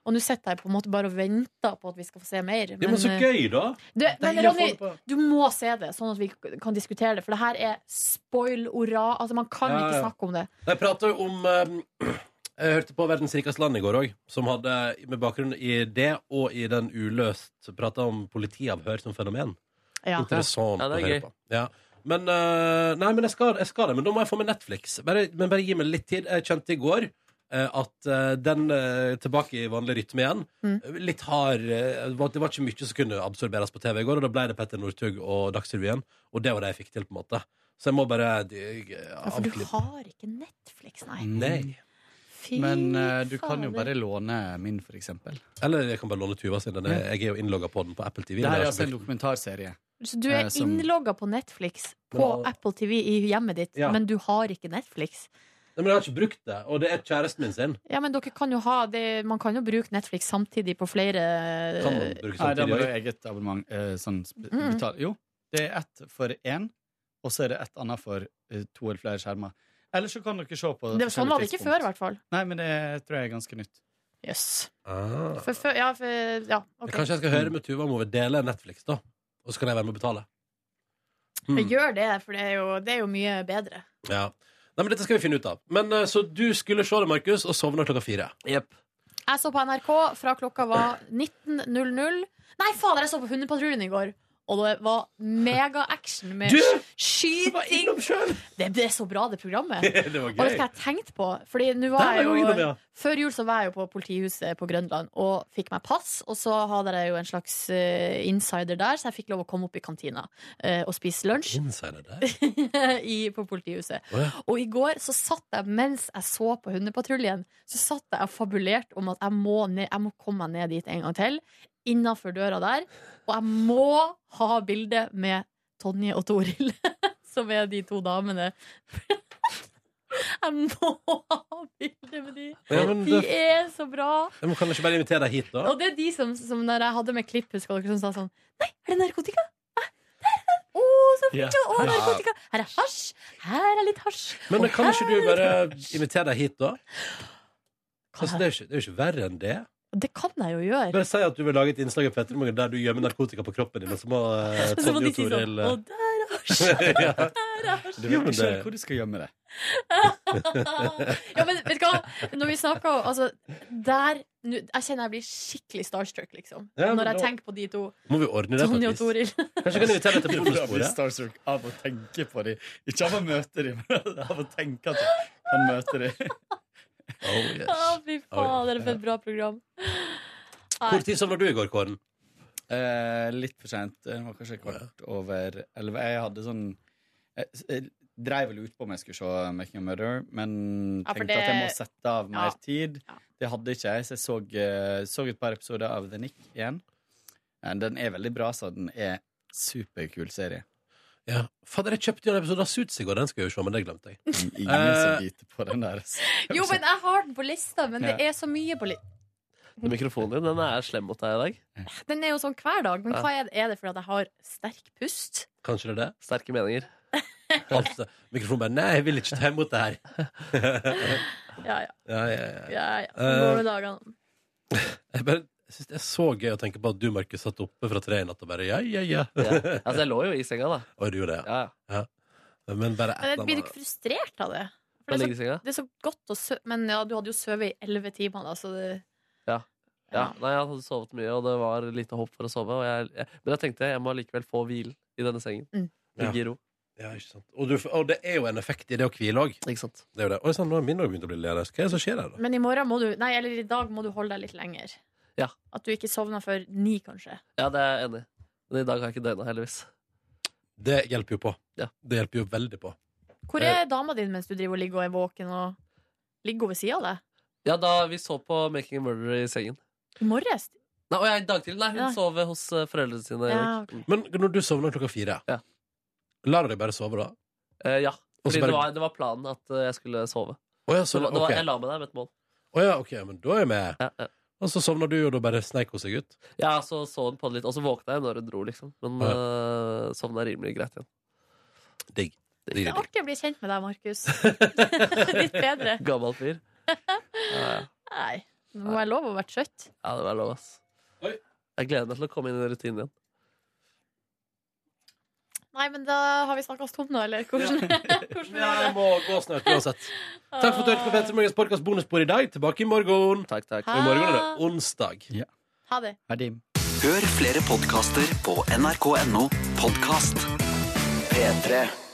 Og nå sitter jeg på en måte bare og venter på at vi skal få se mer. Ja, men så eh, gøy, da! Du, men Deilig å Ronny, få det på. du må se det, sånn at vi kan diskutere det. For det her er spoil-ora. Altså, man kan Ja, ja. ikke snakke om det. Jeg prata jo om eh, Jeg hørte på Verdens rikeste land i går òg, som hadde med bakgrunn i det og i den uløst prata om politiavhør som fenomen. Ja. Interessant Ja, å det er høre gøy. på. Ja. Men, eh, nei, men jeg, skal, jeg skal det. Men da må jeg få med Netflix. Bare, men bare gi meg litt tid. Jeg kjente i går eh, at eh, den eh, tilbake i vanlig rytme igjen. Mm. Litt hard eh, det var- Det var ikke mye som kunne absorberes på TV i går, og da ble det Petter Northug og Dagsrevyen. Og det var det jeg fikk til, på en måte. Så jeg må bare eh, Ja, for du avklippe. har ikke Netflix, Mm. nei. Nei. Fy Men eh, du kan jo fader. bare låne min, for eksempel. Eller jeg kan bare låne Tuva sin. Den er, jeg er jo innlogga på den på Apple TV. Det her men er jeg altså har en ikke dokumentarserie. Så du er eh, som- innlogga på Netflix på Men- Apple TV i hjemmet ditt, Ja. men du har ikke Netflix. brukt- Nei, men jeg har ikke brukt det, og det er kjæresten min sin. Ja, men dere kan jo ha det, Man kan jo bruke Netflix samtidig på flere eh, Kan man bruke Nei, det samtidig, var jo eller? eget abonnement. eh, sånn sp- Mm. betal. Jo, det er ett for én, og så er det ett annet for eh, to eller flere skjermer. Eller så kan dere se på Det- Sånn var det ikke før, i hvert fall. Nei, men det tror jeg er ganske nytt. Jøss. Ah. For, før- ja, for, ja, ok. Kanskje jeg skal høre med Tuva om hun vil dele Netflix, da. Og så kan jeg være med og betale. Men Hmm. Gjør det, for det er, jo, det er jo mye bedre. Ja. Nei, men Dette skal vi finne ut av. Men eh, Så du skulle se det, Markus, og sovna klokka fire. Jeg så på NRK fra klokka var 19.00. Nei, fader, jeg så på Hundepatruljen i går! Og det var mega-action med Du! skyting. Det, det er så bra, det programmet. Det var gøy. Og vet du hva jeg tenkte på? Fordi nå Der var var jeg jeg innom, jo, ja. før jul så var jeg jo på politihuset på Grønland og fikk meg pass. Og så hadde jeg jo en slags eh, insider der, så jeg fikk lov å komme opp i kantina eh, og spise lunsj Insider der. i, på politihuset. Å, ja. Og i går så satt jeg, mens jeg så på Hundepatruljen, så satt jeg og fabulerte om at jeg må, ned, jeg må komme meg ned dit en gang til. Innafor døra der. Og jeg må ha bilde med Tonje og Toril, som er de to damene. Jeg må ha bilde med de! Ja, men De det- er så bra! Jeg må, kan jeg ikke bare invitere deg hit, da? Og det er de som, som når jeg hadde med klipp, husker dere, som sa sånn Nei, er det narkotika? «Ah, Å, så Ja. fint! Å, Ja. narkotika! Her er hasj! Her er litt hasj! Men Og kan ikke du her er litt bare hasj. invitere deg hit, da? Altså, det, er jo ikke, det er jo ikke verre enn det. Det kan jeg jo gjøre. Bare si at du vil lage et innslag i Petremorgen der du gjemmer narkotika på kroppen din, og så må eh, Så må Tonje de og si sånn Toril Å, eh, der er hasj! Ja. Der er Du vet ikke hasj! selv hvor du skal gjemme det. Ja, men vet du hva? Når vi snakker om Altså, der nå- Jeg kjenner jeg blir skikkelig starstruck, liksom. Ja, men Når jeg da- tenker på de to. Må vi ordne det, Tonje og faktisk? Toril. Kanskje vi kan invitere deg til bonusbordet? Starstruck av å tenke på dem. Ikke av å møte dem, men av å tenke at jeg kan møte dem. Oh, Å, fy fader, for et bra program. Nei. Hvor tid sovna du i går, Kåren? Eh, litt for seint. Det var kanskje kvart over elleve. Jeg hadde sånn Jeg, jeg dreiv vel ut på om jeg skulle se 'Making a Murder', men Ja, for tenkte det- at jeg må sette av mer Ja. tid. Det hadde ikke jeg, så jeg så, eh, så et par episoder av The Nick igjen. Eh, Den er veldig bra, så den er superkul serie. Ja. Fader, jeg kjøpte jo en episode av Suits i går. Den skal jeg jo se, men det glemte jeg. Ingen Eh, som biter på den der. altså. Jo, men jeg har den på lista, men det Ja. er så mye på lista. Den Mikrofonen din den er slem mot deg i dag. Den er jo sånn hver dag, men Ja. hva er det, er det fordi at jeg har sterk pust? Kanskje det er det? Sterke meninger. Altså, mikrofonen bare Nei, jeg vil ikke ta imot det her. Ja, ja. ja, ja, ja. ja, ja. Eh, Sånn går det dagene. Jeg bare jeg synes det er så gøy å tenke på at du, Markus, satt oppe fra tre i natt og bare ja, ja, ja. Ja. Altså, jeg lå jo i senga, da. Og du gjorde det, ja. ja. Men bare et Men eller blir du annet- ikke frustrert av det? For Da det, ligger de er i så, senga. det er så godt å sø... Men ja, du hadde jo sovet i elleve timer, da, så det Ja. ja. Nei, jeg hadde sovet mye, og det var lite håp for å sove. Og jeg, jeg, men jeg tenkte jeg må allikevel få hvile i denne sengen. Mm. Ligge i ro. Ja, ikke sant. Og, du, og det er jo en effekt i det å hvile òg. Ikke sant. Det er jo det. Oi sann, nå har min dag begynt å bli ledes. Hva er det som skjer her, da? Men i morgen må du Nei, eller i dag må du holde deg litt lenger. Ja. At du ikke sovner før ni, kanskje. Ja, det er jeg enig i. Men i dag har jeg ikke døgna, heldigvis. Det hjelper jo på. Det hjelper jo veldig på. Hvor Eh. er dama din mens du driver og ligger og er våken? Og ligger hun ved sida av deg? Ja, da vi så på Making a Murderer i sengen. I morges? Nei, og jeg, i dag tidlig. Nei, hun Ja. sov hos eh, foreldrene sine. Ja, Erik. Men når du sovner klokka fire, lar du deg bare sove da? Eh, ja. Og så Fordi bare- det, var, det var planen at eh, jeg skulle sove. Å ja, så- det var, det var, ok. Jeg la meg der med et mål. Å ja, OK, men da er jeg med. Og så sovner du, og da bare sneik hun seg ut. Ja, så så hun på det litt, og så våkna jeg når hun dro, liksom. Men Ja. eh, sovna rimelig greit igjen. Digg. Det er artig å bli kjent med deg, Markus. Litt bedre. Gammel fyr. Ja, ja. Nei. Nå må jeg lov å være trøtt. Ja, det var lov, ass. Jeg gleder meg til å komme inn i den rutinen igjen. Nei, men da har vi snakka oss tom nå, eller? Hvordan, hvordan Ja, jeg må gå snart uansett. Takk for at du hørte på Petter Morgens podkast bonusbord i dag. Tilbake i morgen. Takk, takk. Og i morgen er det onsdag. Ha det. Hør flere podkaster på nrk.no podkast. P3.